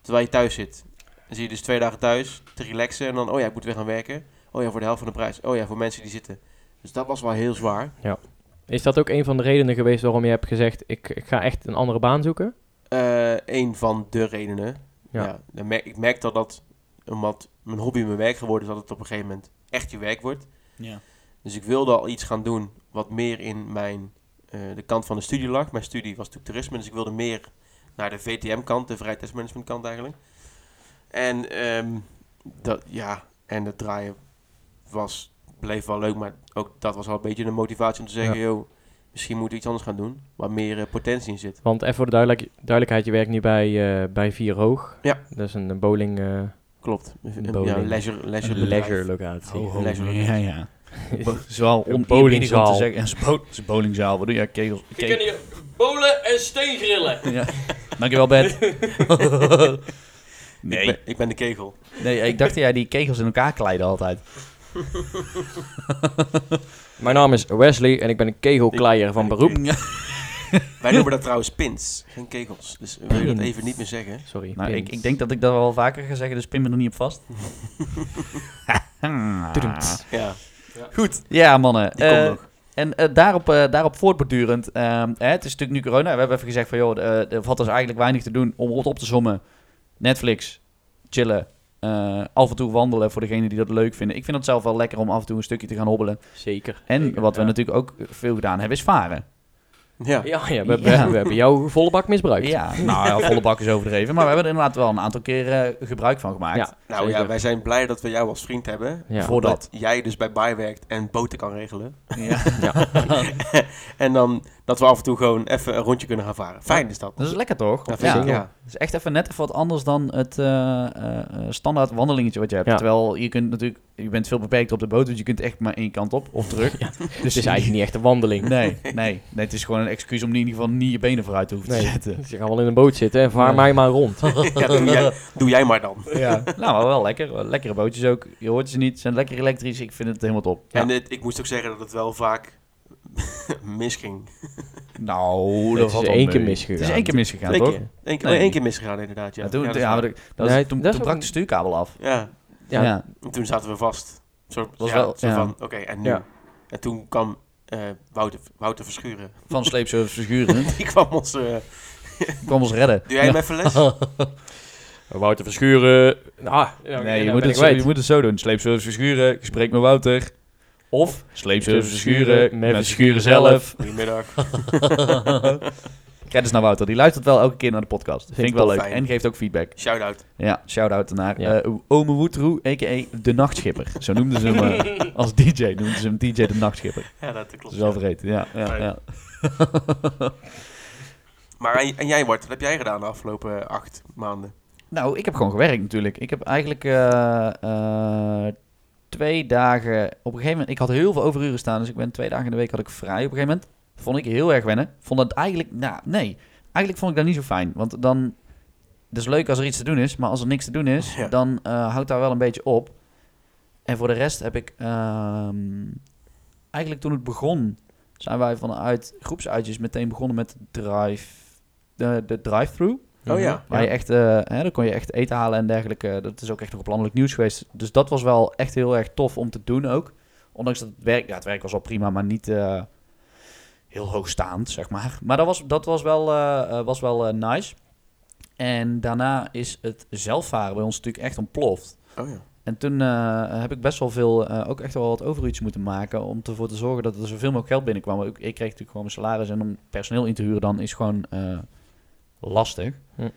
Terwijl je thuis zit. Dan zie je dus twee dagen thuis te relaxen. En dan, oh ja, ik moet weer gaan werken. Oh ja, voor de helft van de prijs. Oh ja, voor mensen die zitten. Dus dat was wel heel zwaar.
Is dat ook een van de redenen geweest waarom je hebt gezegd... ik, ik ga echt een andere baan zoeken?
Eh, een van de redenen. Ja.
Ja.
dan merk, ik merk dat dat, omdat mijn hobby mijn werk geworden is, dat het op een gegeven moment echt je werk wordt.
Ja.
Dus ik wilde al iets gaan doen wat meer in mijn, eh, de kant van de studie lag. Mijn studie was natuurlijk toerisme, dus ik wilde meer naar de VTM-kant, de vrijtijdsmanagement kant eigenlijk. En, ehm, dat, ja, en het draaien was, bleef wel leuk, maar ook dat was al een beetje de motivatie om te zeggen,
Ja.
joh, misschien moet ik iets anders gaan doen, waar meer eh, potentie in zit.
Want even voor de duidelijk, duidelijkheid, je werkt nu bij, eh, bij Vier Hoog.
Ja.
Dat is een een bowling... eh,
Klopt. Een,
bowling.
ja, een leisure, leisure
Een
bedrijf.
locatie.
ho. Leisure.
Ja, ja. Het is wel
Een
oneerbiedig om te
bowlingzaal.
zeggen. Een bo- het is een bowlingzaal. Wat doe jij? Kegels. kegels.
hier bolen en steengrillen.
Ja. Dankjewel, Bert.
Ik,
nee.
ben, ik ben de kegel.
nee, ik dacht dat jij die kegels in elkaar kleidde altijd.
Mijn naam is Wesley en ik ben een kegelkleier van beroep.
Ja.
Wij noemen dat trouwens pins, geen kegels. Dus wil je dat
Pins.
even niet meer zeggen?
Sorry.
Nou,
pins.
ik, ik denk dat ik dat wel vaker ga zeggen, dus pin me er niet op vast. Ah.
Tudumts.
Ja.
Goed. Ja, mannen.
Die komt
Eh,
nog.
En eh, daarop, eh, daarop voortbordurend, ehm, hè, het is natuurlijk nu corona. We hebben even gezegd van, joh, eh, er valt dus eigenlijk weinig te doen om het op te sommen. Netflix, chillen, eh, af en toe wandelen voor degenen die dat leuk vinden. Ik vind het zelf wel lekker om af en toe een stukje te gaan hobbelen.
Zeker.
En
Zeker,
wat we
ja.
natuurlijk ook veel gedaan hebben, is varen.
Ja.
Ja, ja, we, hebben-
Ja.
we hebben jouw volle bak misbruikt.
Ja, nou ja, volle bak is overdreven. Maar we hebben er inderdaad wel een aantal keer eh, gebruik van gemaakt.
Ja,
Nou ja,
zeker.
wij zijn blij dat we jou als vriend hebben.
Ja.
Voordat.
Dat jij dus bij Baai werkt en boten kan regelen.
Ja.
En dan dat we af en toe gewoon even een rondje kunnen gaan varen. Fijn is dat.
Dat is lekker toch?
Ja, vind
ja.
ik, ja.
Het is echt even net even wat anders dan het eh, eh, eh, standaard wandelingetje wat je hebt.
Ja.
Terwijl je kunt natuurlijk, je bent veel beperkt op de boot, dus je kunt echt maar één kant op of terug.
Dus het is eigenlijk niet echt een wandeling.
Nee, nee, nee, het is gewoon een excuus om in ieder geval niet je benen vooruit te hoeven
Nee.
te zetten.
Dus je gaat wel in een boot zitten en vaar
Ja.
mij maar rond. Ah,
Ja, doe, jij, doe jij maar dan.
Ja. Nou, maar wel lekker. Wel Lekkere bootjes ook. Je hoort ze niet. Ze zijn lekker elektrisch. Ik vind het helemaal top.
En het- ik moest ook zeggen dat het wel vaak misging.
Nou,
Het
dat
is
valt wel
één keer
mee.
misgegaan.
Het is één keer misgegaan,
Eén
toch?
keer. Eén keer,
Nee.
één keer misgegaan inderdaad, ja.
Ja, toen,
ja,
ja,
dat is
maar
waar.
dat- dat was-
Nee,
toen,
dat is
toen
ook
brak
een-
de stuurkabel af.
ja,
Ja,
ja.
en toen zaten we vast. Zo,
Was
ja,
wel-
zo
ja.
van, oké, en nu?
Ja.
En toen kwam eh, Wouter, Wouter Verschuren.
Van sleepservice Verschuren.
Die kwam ons... eh,
kwam ons redden.
doe jij hem even les?
Wouter Verschuren. Ah, nou,
Nee, je,
nou
moet
ben
het
ik
zo,
kwijt.
je moet het zo doen. Sleepservice Verschuren, gesprek met Wouter. Of Sleepservice Verschuren, met Verschuren zelf.
Goedemiddag.
Credits naar Wouter, die luistert wel elke keer naar de podcast. Vind,
Vind
ik wel
ik
leuk.
fijn.
En geeft ook feedback.
Shout-out.
Ja, shout-out naar
Ja.
eh Ome Woetroe, a.k.a. De Nachtschipper. Zo noemden ze hem eh, als DJ, noemden ze hem DJ De Nachtschipper.
Ja, dat klopt.
Dat is wel vergeten, ja. ja,
Fijn.
ja.
Maar en, en jij, Bart, wat heb jij gedaan de afgelopen eh, acht maanden?
Nou, ik heb gewoon gewerkt natuurlijk. Ik heb eigenlijk eh, eh, twee dagen... Op een gegeven moment... Ik had heel veel overuren staan, dus ik ben twee dagen in de week had ik vrij op een gegeven moment. Vond ik heel erg wennen. Vond dat eigenlijk... Nou, nee. Eigenlijk vond ik dat niet zo fijn. Want dan... Het is leuk als er iets te doen is, maar als er niks te doen is,
Ja.
dan eh, houdt daar wel een beetje op. En voor de rest heb ik... ehm, eigenlijk toen het begon, zijn wij vanuit groepsuitjes meteen begonnen met drive... De, de drive-through.
Oh ja.
Waar je echt, eh, hè, dan kon je echt eten halen en dergelijke. Dat is ook echt nog op landelijk nieuws geweest. Dus dat was wel echt heel erg tof om te doen ook. Ondanks dat het werk, ja, het werk was al prima, maar niet eh, heel hoogstaand, zeg maar. Maar dat was, dat was wel, eh, eh, was wel eh, nice. En daarna is het zelfvaren bij ons natuurlijk echt ontploft.
Oh ja.
En toen eh, heb ik best wel veel, eh, ook echt wel wat overuitjes moeten maken om ervoor te zorgen dat er zoveel mogelijk geld binnenkwam. Ik, ik kreeg natuurlijk gewoon mijn salaris en om personeel in te huren dan is gewoon eh, lastig.
Hm.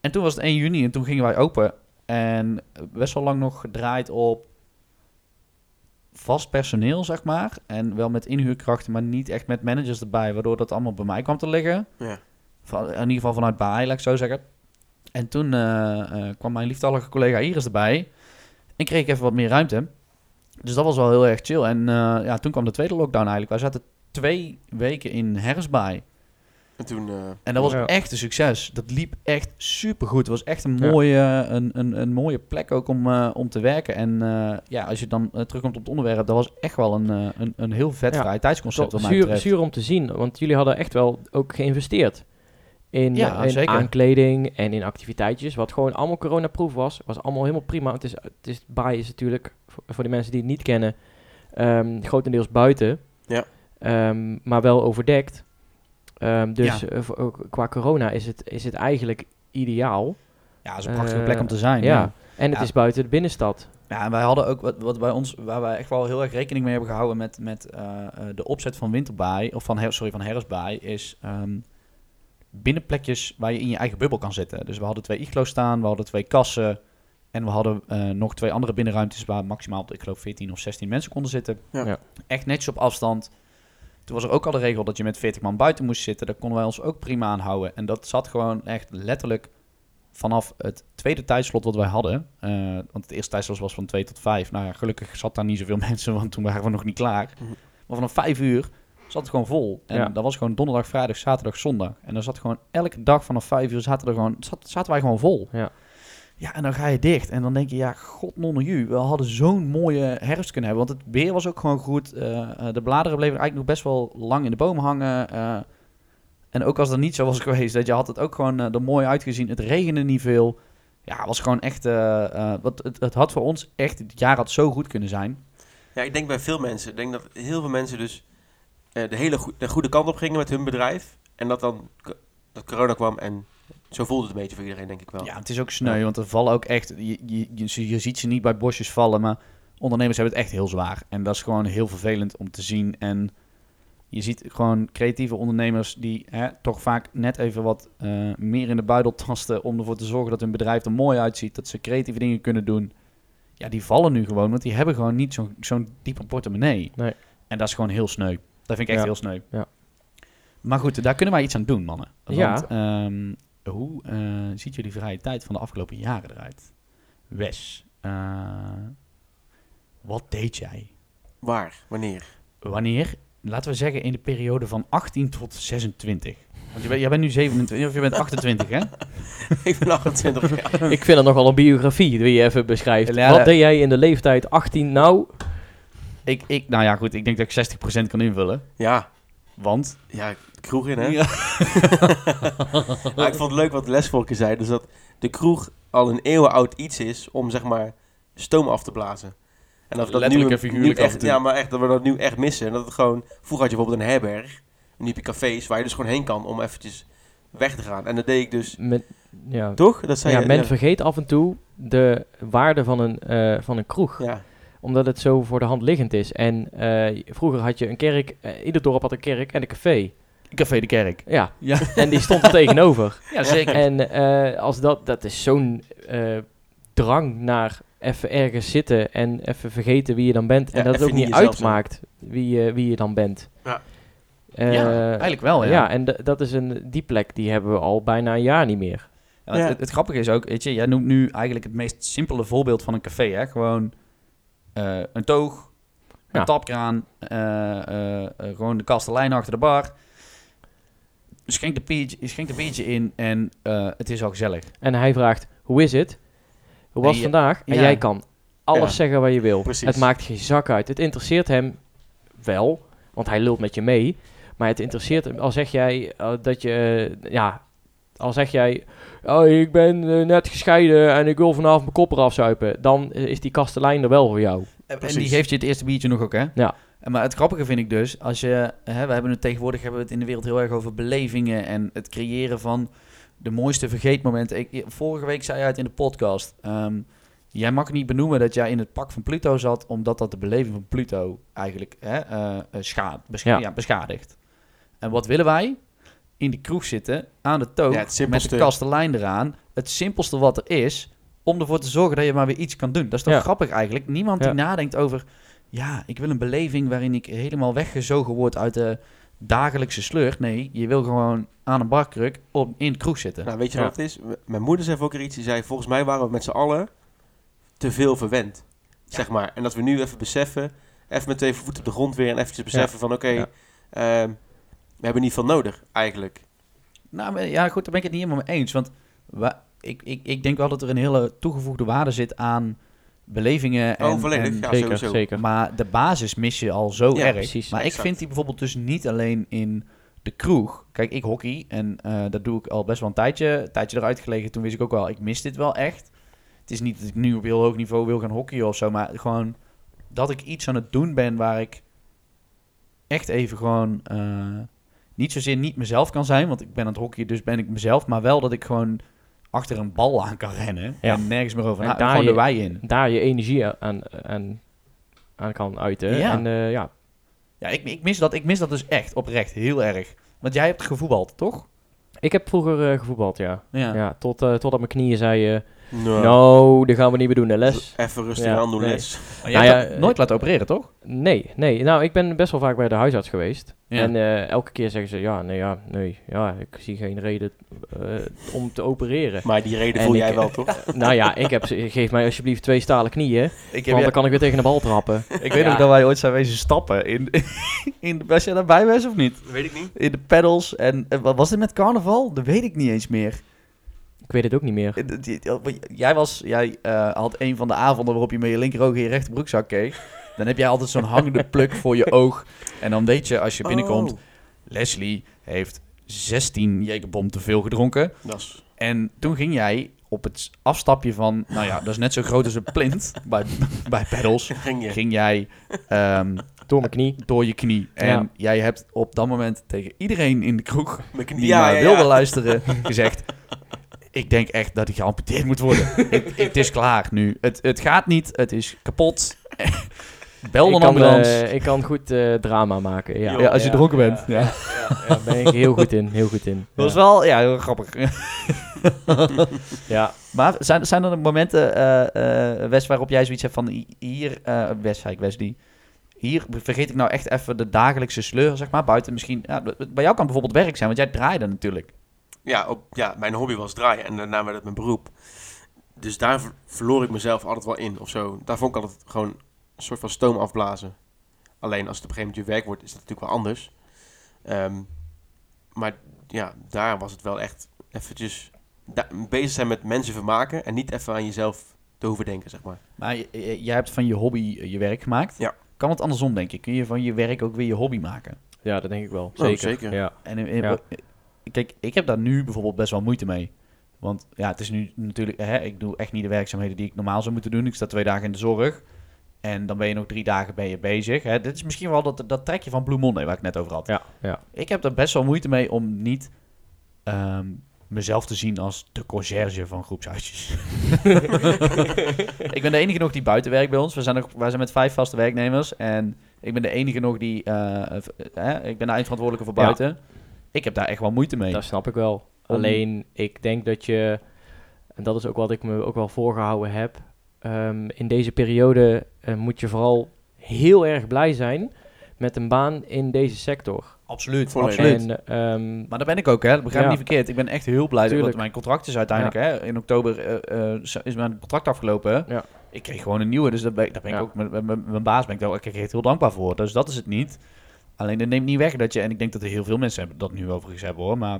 En toen was het 1 juni en toen gingen wij open en best wel lang nog gedraaid op vast personeel, zeg maar. En wel met inhuurkrachten, maar niet echt met managers erbij, waardoor dat allemaal bij mij kwam te liggen.
Ja.
Van, in ieder geval vanuit Baai, laat ik zo zeggen. En toen eh, eh, kwam mijn lieftallige collega Iris erbij. En kreeg ik even wat meer ruimte. Dus dat was wel heel erg chill. En eh, ja, toen kwam de tweede lockdown eigenlijk. Wij zaten twee weken in Herfstbaai.
En toen... eh,
En dat was
Ja.
echt een succes. Dat liep echt supergoed. Het was echt een
Ja.
mooie, een, een, een mooie plek ook om, eh, om te werken. En eh, ja, als je dan eh, terugkomt op het onderwerp, dat was echt wel een, eh, een, een heel vet
Ja.
vrij tijdsconcept wat mij
zuur,
betreft.
zuur om te zien, want jullie hadden echt wel ook geïnvesteerd in,
Ja,
eh, in
zeker.
aankleding en in activiteitjes, wat gewoon allemaal coronaproof was. Was allemaal helemaal prima. Het is, het is baai is natuurlijk, voor, voor de mensen die het niet kennen, ehm, grotendeels buiten,
Ja.
Ehm, maar wel overdekt. Ehm, dus
Ja.
eh, voor- ook qua corona is het, is het eigenlijk ideaal.
Ja, dat is een prachtige
Eh,
plek om te zijn.
ja.
Ja.
En het
Ja.
is buiten de binnenstad.
ja, en wij hadden ook wat, wat bij ons, waar wij echt wel heel erg rekening mee hebben gehouden met, met eh, eh, de opzet van winterbaai, of van, her- sorry, van herfstbaai, is ehm, binnenplekjes waar je in je eigen bubbel kan zitten. Dus we hadden twee iglo's staan, we hadden twee kassen en we hadden eh, nog twee andere binnenruimtes waar maximaal, ik geloof, 14 of 16 mensen konden zitten.
Ja.
Ja.
Echt netjes op afstand. Toen was er ook al de regel dat je met 40 man buiten moest zitten. Daar konden wij ons ook prima aan houden. En dat zat gewoon echt letterlijk vanaf het tweede tijdslot wat wij hadden. Eh, want het eerste tijdslot was van 2 tot 5. Nou ja, gelukkig zat daar niet zoveel mensen, want toen waren we nog niet klaar.
Mhm.
Maar vanaf 5 uur zat het gewoon vol. En
Ja.
dat was gewoon donderdag, vrijdag, zaterdag, zondag. En dan zat gewoon elke dag vanaf 5 uur zaten, er gewoon, zat, zaten wij gewoon vol.
Ja.
Ja, en dan ga je dicht. En dan denk je, ja, god nonne ju. We hadden zo'n mooie herfst kunnen hebben. Want het weer was ook gewoon goed. Eh, eh, de bladeren bleven eigenlijk nog best wel lang in de boom hangen. Eh, en ook als dat niet zo was geweest, dat je had het ook gewoon eh, er mooi uitgezien. Het regende niet veel. Ja, het was gewoon echt... eh, eh, wat, het, het had voor ons echt... Het jaar had zo goed kunnen zijn.
Ja, ik denk bij veel mensen. Ik denk dat heel veel mensen dus eh, de hele goe- de goede kant op gingen met hun bedrijf. En dat dan co- dat corona kwam en zo voelde het een beetje voor iedereen, denk ik wel.
Ja, het is ook sneu, want er vallen ook echt... Je, je, je, ze- je ziet ze niet bij bosjes vallen, maar ondernemers hebben het echt heel zwaar. En dat is gewoon heel vervelend om te zien. En je ziet gewoon creatieve ondernemers die hè, toch vaak net even wat eh, meer in de buidel tasten... om ervoor te zorgen dat hun bedrijf er mooi uitziet, dat ze creatieve dingen kunnen doen. Ja, die vallen nu gewoon, want die hebben gewoon niet zo'n zo'n diepe portemonnee.
Nee.
En dat is gewoon heel sneu. Dat vind ik echt
Ja.
heel sneu.
Ja.
Maar goed, daar kunnen wij iets aan doen, mannen. Want,
Ja.
ehm, hoe eh, ziet jullie vrije tijd van de afgelopen jaren eruit? Wes, eh, wat deed jij?
Waar? Wanneer?
Wanneer? Laten we zeggen in de periode van 18 tot 26. Want je bent, jij bent nu 27, of je bent 28, hè?
ik ben 28 jaar.
Ik vind het nogal een biografie die je even beschrijft.
Ja,
Wat
dat-
deed jij in de leeftijd 18 nou?
Ik, ik, nou ja, goed, ik denk dat ik 60% kan invullen.
Ja,
Want...
ja, kroeg in hè. Maar ik vond het leuk wat Lesvolken zei. Dus dat de kroeg al een eeuwen oud iets is om zeg maar stoom af te blazen. En dat we dat
Letterlijk
nu,
en figuurlijk
nu
af en
echt,
toe.
Ja, maar echt dat we dat nu echt missen. En dat het gewoon, vroeger had je bijvoorbeeld een herberg. En nu heb je cafés waar je dus gewoon heen kan om eventjes weg te gaan. En dat deed ik dus.
Met, ja,
Toch? Dat zei
ja,
je.
men
eh, ja.
vergeet af en toe de waarde van een, eh, van een kroeg.
Ja,
Omdat het zo voor de hand liggend is. En eh, vroeger had je een kerk, eh, ieder dorp had een kerk en een café.
Café de Kerk.
Ja,
Ja,
en die stond er tegenover.
ja zeker.
En eh, als dat, dat is zo'n eh, drang naar even ergens zitten en even vergeten wie je dan bent.
Ja,
en dat het
even
ook niet
niet jezelf zijn.
uitmaakt wie, je- wie je dan bent.
Ja.
Eh,
ja, eigenlijk wel,
ja. en d- dat is een, die plek die hebben we al bijna een jaar niet meer.
Ja, want
Ja.
Het, het grappige is ook, weet je, jij noemt nu eigenlijk het meest simpele voorbeeld van een café. Hè? Gewoon eh, een toog, een
Ja.
tapkraan, eh, eh, eh, gewoon de kastelein achter de bar. Schenk de biertje, schenk de biertje in en eh, het is al gezellig.
En hij vraagt, hoe is het? Hoe was
En je-
het vandaag? En
ja.
jij kan alles
Ja.
zeggen wat je wil.
Precies.
Het maakt geen zak uit. Het interesseert hem wel, want hij lult met je mee. Maar het interesseert hem, al zeg jij eh, dat je, eh, ja, al zeg jij, oh, ik ben eh, net gescheiden en ik wil vanavond mijn kop eraf zuipen. Dan eh, is die kastelein er wel voor jou.
En- En die
Precies.
geeft je het eerste biertje nog ook, hè?
Ja.
En Maar het grappige vind ik dus, als je, hè, we hebben het tegenwoordig hebben we het in de wereld heel erg over belevingen en het creëren van de mooiste vergeetmomenten. Ik, vorige week zei jij het in de podcast. ehm, jij mag niet benoemen dat jij in het pak van Pluto zat, omdat dat de beleving van Pluto eigenlijk hè, eh, eh, scha- bescha-
Ja.
ja, beschadigt. En wat willen wij? In de kroeg zitten, aan de toog,
Ja, het
met de
simpelste.
kastelein eraan. Het simpelste wat er is, om ervoor te zorgen dat je maar weer iets kan doen. Dat is toch
Ja.
grappig eigenlijk? Niemand
Ja.
die nadenkt over... Ja, ik wil een beleving waarin ik helemaal weggezogen word uit de, dagelijkse slurk. Nee, je wil gewoon aan een barkruk op, in de kroeg zitten.
Nou, weet je
Ja.
wat het is? M- Mijn moeder zei ook keer iets. Die zei, volgens mij waren we met z'n allen te veel verwend. Zeg maar. En dat we nu even beseffen, even met twee voeten op de grond weer en eventjes beseffen van, oké,
Ja.
ehm, we hebben niet veel nodig, eigenlijk.
Nou, maar ja, goed, daar ben ik het niet helemaal mee eens. Want wa- ik, ik, ik denk wel dat er een hele toegevoegde waarde zit aan belevingen. En,
oh, volledig.
en-
ja,
zeker,
sowieso.
zeker.
Maar de basis mis je al zo
Ja,
erg.
precies,
maar ik
exact.
vind die bijvoorbeeld dus niet alleen in de kroeg. Kijk, ik hockey en eh, dat doe ik al best wel een tijdje, een tijdje eruit gelegen. Toen wist ik ook wel, ik mis dit wel echt. Het is niet dat ik nu op heel hoog niveau wil gaan hockeyen of zo, maar gewoon dat ik iets aan het doen ben waar ik echt even gewoon eh, niet zozeer niet mezelf kan zijn, want ik ben aan het hockeyen, dus ben ik mezelf, maar wel dat ik gewoon achter een bal aan kan rennen
Ja.
en nergens meer over
En
na.
daar
Gewoon
je-
de wei in.
Daar je energie aan, aan, aan kan uiten.
Ja.
En eh, ja,
Ja, ik, ik, mis dat, ik mis dat dus echt, oprecht, heel erg. Want jij hebt gevoetbald, toch?
ik heb vroeger eh, gevoetbald, ja. Ja, tot, eh totdat mijn knieën zeiden,
Nou,
nou, dat gaan we niet meer doen, de les.
even rustig
Ja,
aan doen
nee.
les.
Maar jij
Nou
hebt
ja,
dat nooit laten opereren, toch?
Nee, nee. Nou, ik ben best wel vaak bij de huisarts geweest.
Ja.
En eh, elke keer zeggen ze, ja, nee, ja, nee, ja, ik zie geen reden eh, om te opereren.
Maar die reden
En
voel
ik-
jij wel, toch?
nou ja, ik heb, ze- geef mij alsjeblieft twee stalen knieën,
Ik,
want dan kan ik weer tegen eh, de bal trappen.
ik weet
Ja.
nog dat wij ooit zijn wezen stappen. In, in de, was jij daarbij was of niet?
Weet ik niet.
In de pedals. En, en wat was dit met carnaval? Dat weet ik niet eens meer.
Ik weet het ook niet meer.
Eh, dat- die- Jij, was, jij eh, had een van de avonden waarop je met je linkeroog in je rechterbroekzak keek. Dan heb jij altijd zo'n hangende pluk voor je oog. En dan weet je, als je binnenkomt,
Oh,
Leslie heeft 16 jekerbom te veel gedronken.
Dat is...
En toen ging jij op het afstapje van, nou ja, dat is net zo groot als een plint bij, bij pedals,
Ging je.
ging jij ehm,
Door mijn knie.
door je knie. En
Ja.
jij hebt op dat moment tegen iedereen in de kroeg
Mijn knie-
die
ja,
naar
ja,
wilde
ja.
luisteren gezegd, ik denk echt dat hij geamputeerd moet worden. het, het is klaar nu. Het, het gaat niet, het is kapot. Bel
ik,
een
kan,
ambulance.
eh, ik kan goed eh, drama maken, ja.
Jo.
ja, als je
Ja,
dronken
ja,
bent. Ja.
Daar ben ik heel goed in, heel goed in.
Dat was
Ja.
wel ja, heel grappig.
Ja.
Maar zijn, zijn er momenten, eh eh, Wes, waarop jij zoiets hebt van hi- hier, eh Wes, zei ik Wes, die, hier vergeet ik nou echt even de dagelijkse sleur, zeg maar, buiten misschien. Ja, b- b- bij jou kan bijvoorbeeld werk zijn, want jij draaide natuurlijk.
Ja, op, ja, mijn hobby was draaien en daarna werd het mijn beroep. Dus daar v- verloor ik mezelf altijd wel in of zo. Daar vond ik altijd gewoon een soort van stoom afblazen. Alleen als het op een gegeven moment je werk wordt, is dat natuurlijk wel anders. Ehm, maar ja, daar was het wel echt eventjes da- bezig zijn met mensen vermaken en niet even aan jezelf te hoeven denken, zeg maar.
Maar j- j- jij hebt van je hobby eh, je werk gemaakt.
Ja.
Kan het andersom, denk ik? Kun je van je werk ook weer je hobby maken?
ja, dat denk ik wel.
Oh,
Zeker.
zeker.
Ja.
En in- in-
Ja.
kijk, ik heb daar nu bijvoorbeeld best wel moeite mee. Want ja, het is nu natuurlijk, hè, ik doe echt niet de werkzaamheden die ik normaal zou moeten doen. Ik sta twee dagen in de zorg. En dan ben je nog drie dagen ben je bezig. Hè. Dit is misschien wel dat, dat trekje van Blue Monday waar ik net over had.
Ja, ja.
Ik heb daar best wel moeite mee om niet ehm, mezelf te zien als de conciërge van groepshuisjes. ik ben de enige nog die buiten werkt bij ons. We zijn, nog, wij zijn met vijf vaste werknemers. En ik ben de enige nog die... eh, v- hè, ik ben de eindverantwoordelijke voor
Ja.
buiten. Ik heb daar echt wel moeite mee.
Dat snap ik wel.
Om-
Alleen, ik denk dat je... En dat is ook wat ik me ook wel voorgehouden heb. ehm, in deze periode eh, moet je vooral heel erg blij zijn met een baan in deze sector.
Absoluut,
Volledig.
absoluut.
En ehm,
Maar daar ben ik ook, hè. Dat begrijp me
Ja.
niet verkeerd. Ik ben echt heel blij dat
Tuurlijk.
want mijn contract is uiteindelijk, hè. In oktober eh, eh, zo- is mijn contract afgelopen.
Ja.
Ik kreeg gewoon een nieuwe, dus daar ben, ik- daar ben
Ja.
ik ook... Met, met- met mijn baas ben ik daar ook echt heel dankbaar voor. Dus dat is het niet. Alleen dat neemt niet weg dat je... En ik denk dat er heel veel mensen hebben, dat nu overigens hebben, hoor. Maar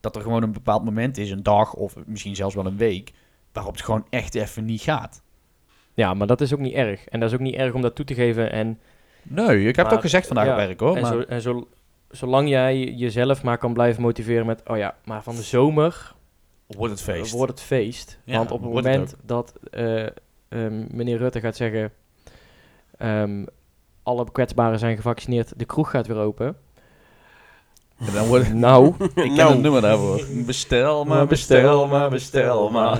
dat er gewoon een bepaald moment is, een dag of misschien zelfs wel een week... waarop het gewoon echt even niet gaat.
ja, maar dat is ook niet erg. En dat is ook niet erg om dat toe te geven. En,
Nee, ik heb het
Maar-
ook gezegd vandaag
ja,
op werk, hoor.
en,
Oh, maar-
zo, en zo, zolang jij jezelf maar kan blijven motiveren met... Oh ja, maar van de zomer
wordt het feest.
Eh, wordt het feest.
Ja,
Want op het
wordt het
moment dat eh, ehm, meneer Rutte gaat zeggen... ehm, alle kwetsbaren zijn gevaccineerd, de kroeg gaat weer open.
En dan wordt
Nou,
Ik ken
Nou.
het nummer daarvoor. Bestel maar, Nou, bestel maar, bestel maar.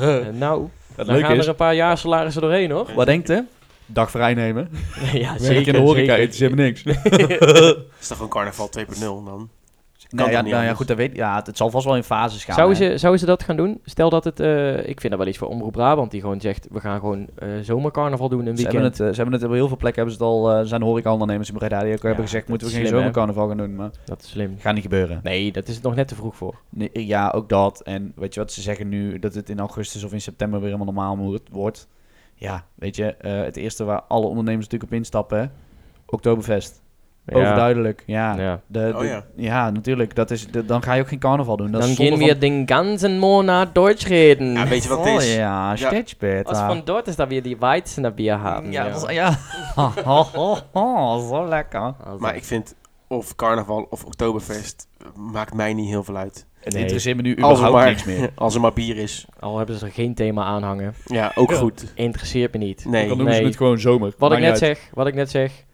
eh, nou dan
Het leuke
gaan
is,
er een paar jaar salarissen doorheen, hoor.
wat denkt u? Dag vrijnemen.
ja,
Werk in de horeca, eten ze hebben niks.
Het is toch een carnaval 2.0 dan? Dus kan
Nou ja,
toch niet
nou ja,
anders?
goed, dat weet, ja, het, het zal vast wel in fases gaan.
Zouden
hè.
ze, zouden ze dat gaan doen? Stel dat het, eh, ik vind dat wel iets voor Omroep Brabant, die gewoon zegt, we gaan gewoon eh, zomercarnaval doen een
Ze hebben,
weekend.
het, eh, ze hebben het op heel veel plekken hebben ze het al, eh, zijn horecaondernemers in Breda die ook hebben gezegd,
dat
moeten we
is
geen
slim, hè?
zomercarnaval gaan doen, maar
Dat is slim.
gaat niet gebeuren.
Nee, dat is het nog net te vroeg voor.
Nee, eh, ja, ook dat. En weet je wat ze zeggen nu, dat het in augustus of in september weer helemaal normaal moet- wordt. Ja, weet je, eh, het eerste waar alle ondernemers natuurlijk op instappen, hè? Oktoberfest. Overduidelijk, ja.
Ja.
De,
Oh
de-
ja.
ja, natuurlijk. Dat is, de- dan ga je ook geen carnaval doen. Dat
Dan
is zonde
gaan
van-
we den ganzen Monat Deutsch reden.
Ja, weet je wat het
Oh
is?
ja, sketchbed.
Als van dort is dat we die Weizen Bier hebben.
ja, dat is- ja. Ho, ho, ho, zo lekker.
Maar ik vind of carnaval of oktoberfest eh, maakt mij niet heel veel uit.
Het
Nee.
interesseert me nu
Als er,
überhaupt niks meer.
maar, als er maar bier is.
Al hebben ze er geen thema aan hangen.
Ja, ook
Ja.
goed.
Interesseert me niet.
Nee.
Dan doen ze
Nee.
het gewoon zomer.
Wat
Maakt
ik net
niet uit.
zeg, wat ik net zeg.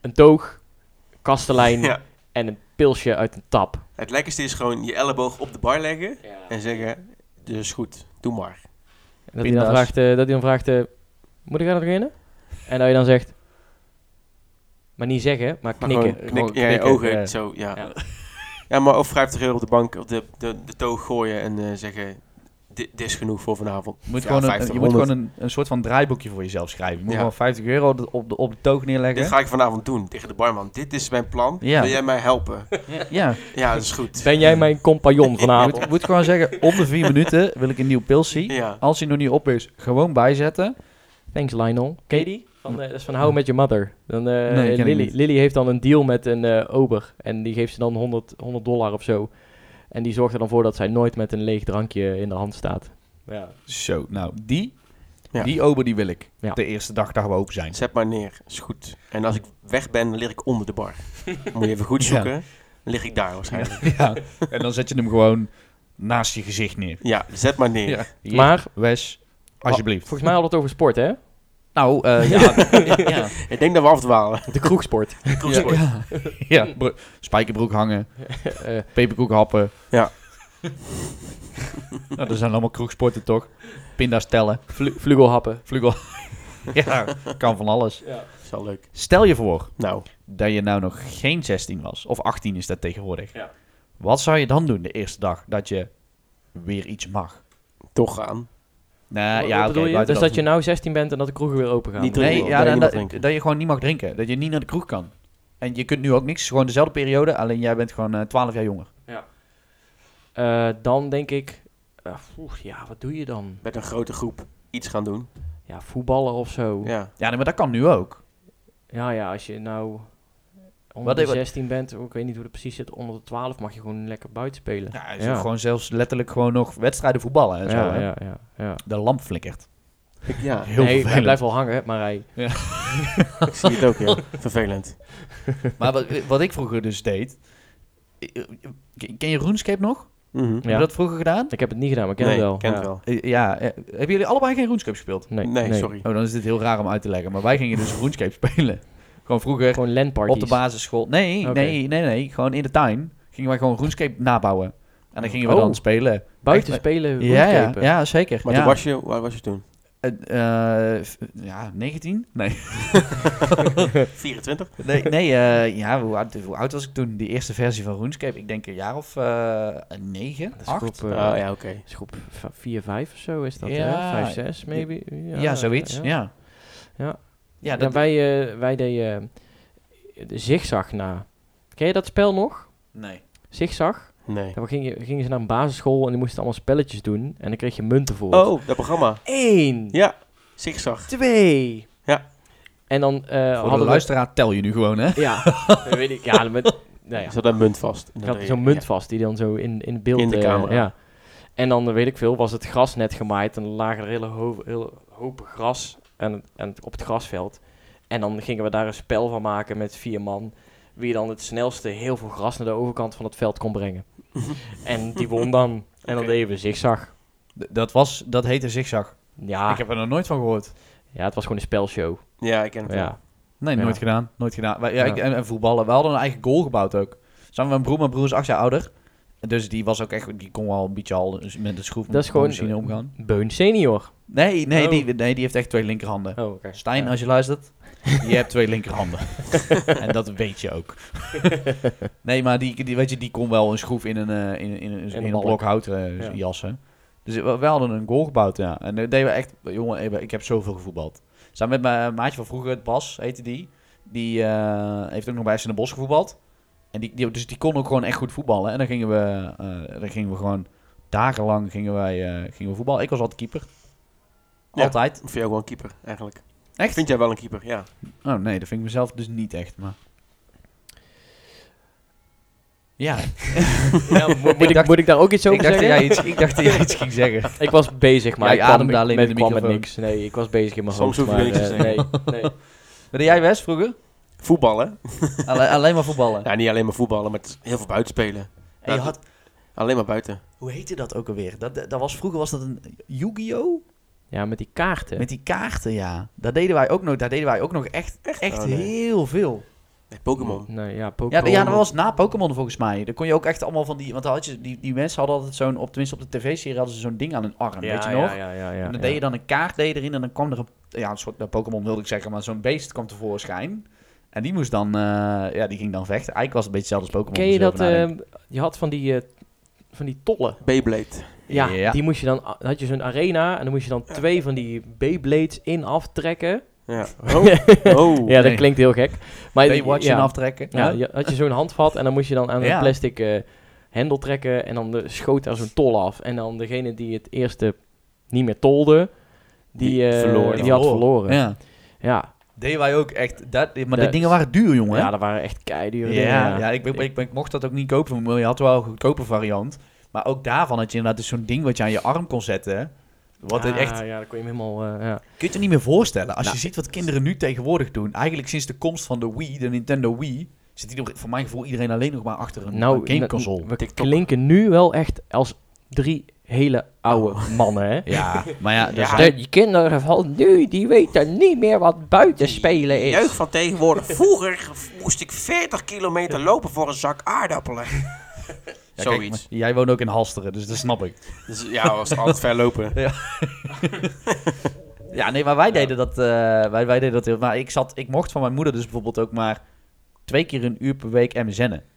Een toog, kastelein
Ja.
en een pilsje uit een tap.
Het lekkerste is gewoon je elleboog op de bar leggen en zeggen, dus goed, doe maar.
En dat hij dan
Pinda's.
vraagt, eh, dat hij dan vraagt eh, moet ik aan het beginnen? En dat je dan zegt, maar niet zeggen, maar
Maar
knikken.
gewoon
Gewoon
knik- ja, je
knikken,
ogen,
ja.
zo, ja.
Ja.
ja. maar of 50 euro op de bank, op de, de, de toog gooien en eh, zeggen, dit dit is genoeg voor vanavond.
Je moet
Ja,
gewoon, een,
50,
je moet
100.
gewoon een, een soort van draaiboekje voor jezelf schrijven. Je moet
Ja.
gewoon 50 euro op de, op de, op de toog
Dit
neerleggen.
ga ik vanavond doen tegen de barman. Dit is mijn plan.
Ja.
Wil jij mij helpen?
Ja.
Ja, dat is goed.
Ben jij mijn compagnon
Je
vanavond?
moet, je moet gewoon zeggen, om de vier minuten wil ik een nieuw pilsie.
Ja.
Als hij nog niet op is, gewoon bijzetten.
Thanks Lionel. Katie? Van, eh, dat is van How I Met Your Mother. Dan, eh,
ken ik
Lily,
niet.
Lily heeft dan een deal met een eh, ober. En die geeft ze dan 100, 100 dollar of zo. En die zorgt er dan voor dat zij nooit met een leeg drankje in de hand staat. Ja.
Zo, nou, die,
Ja.
die ober die wil ik.
Ja.
De eerste dag dat we open zijn.
Zet maar neer, is goed. En als ik weg ben, dan lig ik onder de bar. Moet je even goed zoeken. Dan lig ik daar waarschijnlijk.
Ja. En dan zet je hem gewoon naast je gezicht neer.
Ja, zet maar neer.
Hier,
Maar-
Wes, alsjeblieft.
Volgens mij hadden we het over sport, hè?
Oh, Nou, eh, ja. ja.
Ik denk dat we afdwalen.
De kroegsport.
De kroegsport.
Ja. ja. bro- Spijkerbroek hangen,
Eh,
peperkoek happen.
Ja.
nou, dat zijn allemaal kroegsporten toch? Pinda's tellen,
vlu- vlugelhappen.
vlugel. ja, kan van alles.
Is wel leuk.
Stel je voor
Nou,
dat je nou nog geen 16 was, of 18 is dat tegenwoordig.
Ja.
Wat zou je dan doen de eerste dag dat je weer iets mag?
toch gaan.
Nou
Wat-
ja,
wat
oké,
bedoel je?
buiten
Dus dat je nou 16 bent en dat de kroegen weer open gaan.
Niet drinken.
Nee,
wil,
ja,
dat je
dan-
niet mag
dat,
drinken.
dat je gewoon niet mag drinken. Dat je niet naar de kroeg kan. En je kunt nu ook niks. Gewoon dezelfde periode, alleen jij bent gewoon eh, 12 jaar jonger.
Eh, dan denk ik, eh, oeh, ja, wat doe je dan?
Met een grote groep iets gaan doen.
Ja, voetballen of zo. Ja,
Ja.
Ja, nee, maar dat kan nu ook.
ja, als je nou onder
Wat-
de
wat-
16 bent, ik weet niet hoe dat precies zit, onder de 12 mag je gewoon lekker buiten spelen.
Ja,
is ook
Gewoon zelfs letterlijk gewoon nog wedstrijden voetballen en zo.
ja,
hè.
ja, ja, ja.
De lamp flikkert.
Ik, ja,
Heel
nee, hij
vervelend.
blijft wel hangen, maar hij...
ik zie het ook, ja. Vervelend.
maar wat, wat ik vroeger dus deed... Ken je RuneScape nog?
Mhm.
Heb je dat vroeger gedaan?
Ik heb het niet gedaan, maar ik ken
nee,
het wel.
ik ken
ja.
het wel.
Eh, Ja. eh, Hebben jullie allebei geen RuneScape gespeeld?
Nee,
Nee,
nee.
sorry.
Oh, dan is dit heel raar om uit te leggen. Maar wij gingen dus RuneScape spelen. Gewoon vroeger
Gewoon landparties.
op de basisschool. Nee,
Oké.
nee, nee, nee. Gewoon in de tuin gingen wij gewoon RuneScape nabouwen. En dan gingen we
Oh.
dan spelen.
Buiten
Echt, eh,
spelen,
Ja, ja,
roofcapen.
ja, zeker.
Maar
ja.
toen was je, waar was je toen?
Eh, eh, f- ja, 19? Nee.
Eh.
24?
nee, nee eh, ja, hoe, oud, hoe oud was ik toen? Die eerste versie van RuneScape? Ik denk een jaar of eh 9,
Dat is
8.
groep, eh,
oh ja, oké.
is groep 4, 5 of zo is dat,
Ja.
hè? 5, 6 maybe?
Ja, zoiets. Ja. Ja.
Ja.
Ja,
Ja,
dat,
wij, eh, wij deden eh, de zigzag na. Ken je dat spel nog?
nee.
Zigzag?
Nee.
Daar gingen, gingen ze naar een basisschool en die moesten allemaal spelletjes doen. En dan kreeg je munten voor.
Oh, dat programma.
Eén,
Ja, zigzag.
twee.
Ja.
En dan eh,
Voor de
hadden we...
luisteraar tel je nu gewoon, hè?
Ja, dat weet ik. Ja, met, nou ja.
Zat daar een munt vast.
Ik had zo'n munt vast die dan zo in, in beeld...
In de
eh,
camera.
ja. En dan, eh, weet ik veel, was het gras net gemaaid. En dan lagen er hele, ho hele hopen gras en, en op het grasveld. En dan gingen we daar een spel van maken met vier man. Wie dan het snelste heel veel gras naar de overkant van het veld kon brengen. en die won dan. En dan
Oké.
deden we zigzag.
D- Dat, was, dat heette zigzag.
Ja,
Ik heb er nog nooit van gehoord.
ja, het was gewoon een spelshow.
Ja, ja ik ken het wel.
Ja.
Nee,
Ja.
nooit gedaan. Nooit gedaan. Wij- ja,
Ja.
ik- en, en voetballen. We hadden een eigen goal gebouwd ook. Samen met mijn broer. Mijn broer is acht jaar ouder. Dus die was ook echt, die kon wel een beetje al dus met de schroef
Dat is gewoon-
machine omgaan.
Beun senior.
Nee, nee,
Oh.
die, nee, die heeft echt twee linkerhanden.
Oh, oké.
Stijn, als je luistert, je hebt twee linkerhanden. en dat weet je ook. nee, maar die, die, weet je, die kon wel een schroef in een, eh, in, in, in, in een
balk.
blok hout eh,
Ja.
jassen. Dus we, we hadden een goal gebouwd, ja. En dat deden we echt... Jongen, ik heb zoveel gevoetbald. Samen met mijn maatje van vroeger, Bas, heette die. Die eh, heeft ook nog bij FC Den Bosch gevoetbald. En die, die, dus die kon ook gewoon echt goed voetballen. En dan gingen we, eh, dan gingen we gewoon dagenlang gingen wij, eh, gingen we voetballen. Ik was altijd keeper.
Ja.
Altijd.
Vind jij ook wel een keeper, eigenlijk?
Echt?
Vind jij wel een keeper, ja.
Oh nee, dat vind ik mezelf dus niet echt, maar... Ja,
Mo- moet, ik,
dacht-
moet ik daar ook iets over
ik dacht, dat
zeggen?
jij iets, ik dacht dat jij iets ging zeggen.
Ik was bezig, maar
Jij
ik kwam,
ademde
ik-
alleen
met,
in de
kwam met
microfoon.
niks. Nee, ik was bezig in mijn
Soms
hoofd.
hoef je
maar,
niks te
eh, nee, nee.
Ben jij West vroeger?
Voetballen?
Alleen, alleen maar voetballen.
Nou, niet alleen maar voetballen, maar het is heel veel buitenspelen.
En je had,
Alleen maar buiten.
hoe heette dat ook alweer? Dat, dat was, vroeger was dat een Yu-Gi-Oh?
Ja, met die kaarten.
Met die kaarten, ja. Daar deden wij ook nog, daar deden wij ook nog echt, echt,
Oh, nee.
heel veel.
Nee, Pokémon.
Nee, ja,
Ja,
Pokémon.
d- ja, dat was na Pokémon volgens mij. Dan kon je ook echt allemaal van die... Want dan had je, die, die mensen hadden altijd zo'n... Op, tenminste, op de tv-serie hadden ze zo'n ding aan hun arm,
Ja,
weet je
ja,
nog?
Ja, ja, ja.
en dan
ja.
deed je dan een kaart deed je erin en dan kwam er een, ja, een soort nou, Pokémon wilde ik zeggen, maar zo'n beest kwam tevoorschijn. En die moest dan, eh, ja, die ging dan vechten. Eigenlijk was het een beetje hetzelfde als Pokémon. Dus
Ken je
als
dat?
erover nadenkt.
ehm, je had van die, eh, van die tollen.
Beyblade.
Ja,
Ja.
die moest je dan... dan had je zo'n arena en dan moest je dan twee van die Beyblades in aftrekken.
Ja. Oh. oh.
Ja, dat
Nee.
klinkt heel gek. Maar
Baywatch
ja,
en aftrekken.
ja,
Ja,
je- had je zo'n handvat en dan moest je dan aan een
Ja.
plastic eh hendel trekken en dan de, schoot er zo'n tol af. En dan degene die het eerste niet meer tolde, die,
Die
eh,
verloor,
die
die
had
verloor.
verloren. Ja,
Ja.
ja.
Deden wij ook echt. Dat, maar die
Dat-
dingen waren duur, jongen. hè?
dat waren echt keidure dingen.
ja, ja, ik, ik, ik, ik mocht dat ook niet kopen. maar Je had wel een goedkope variant. Maar ook daarvan had je inderdaad dus zo'n ding wat je aan je arm kon zetten. Wat
Ah,
echt
Ja, dat kon je hem helemaal... eh, ja.
Kun je het je niet meer voorstellen? Als
Nou.
je ziet wat kinderen nu tegenwoordig doen. Eigenlijk sinds de komst van de Wii, de Nintendo Wii... zit hier voor mijn gevoel iedereen alleen nog maar achter een
Nou,
een gameconsole.
n- we
TikTok.
klinken nu wel echt als drie hele oude mannen, hè?
Ja, maar Oh. ja...
Ja.
Dus
De-
die kinderen van nu, die weten niet meer wat buitenspelen
De Jeugd van tegenwoordig. Vroeger moest ik 40 kilometer lopen voor een zak aardappelen.
Ja, kijk,
Zoiets.
maar jij woont ook in Halsteren, dus dat snap ik.
Dus, ja, was altijd ver lopen.
Ja, nee, maar wij deden dat... eh, wij, wij deden dat heel... Maar ik, zat, ik mocht van mijn moeder dus bijvoorbeeld ook maar... twee keer een uur per week MSN'en.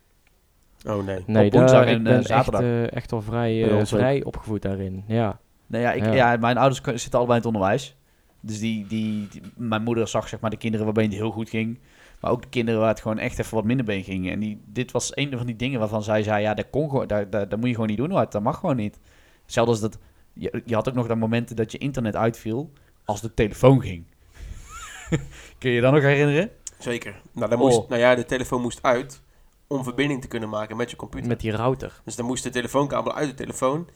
Oh nee.
Nee,
Op woensdag
daar,
en,
ik ben
eh, zaterdag.
echt, eh, echt wel vrij,
Bij
eh,
ons ook.
vrij opgevoed daarin. Ja.
Nou ja, ik,
Ja.
ja. mijn ouders k- zitten allebei in het onderwijs. Dus die, die, die- mijn moeder zag zeg maar de kinderen waarbij het heel goed ging. Maar ook de kinderen waar het gewoon echt even wat minder bij ging. En die, dit was een van die dingen waarvan zij zei, ja, dat, kon gewoon, dat, dat, dat moet je gewoon niet doen. Hoor. Dat mag gewoon niet. Hetzelfde als dat, je, je had ook nog dat momenten dat je internet uitviel als de telefoon ging. Kun je je dat nog herinneren?
Zeker. Nou, dan
Oh.
moest, nou ja, de telefoon moest uit om verbinding te kunnen maken met je computer.
Met die router.
Dus dan moest de telefoonkabel uit de telefoon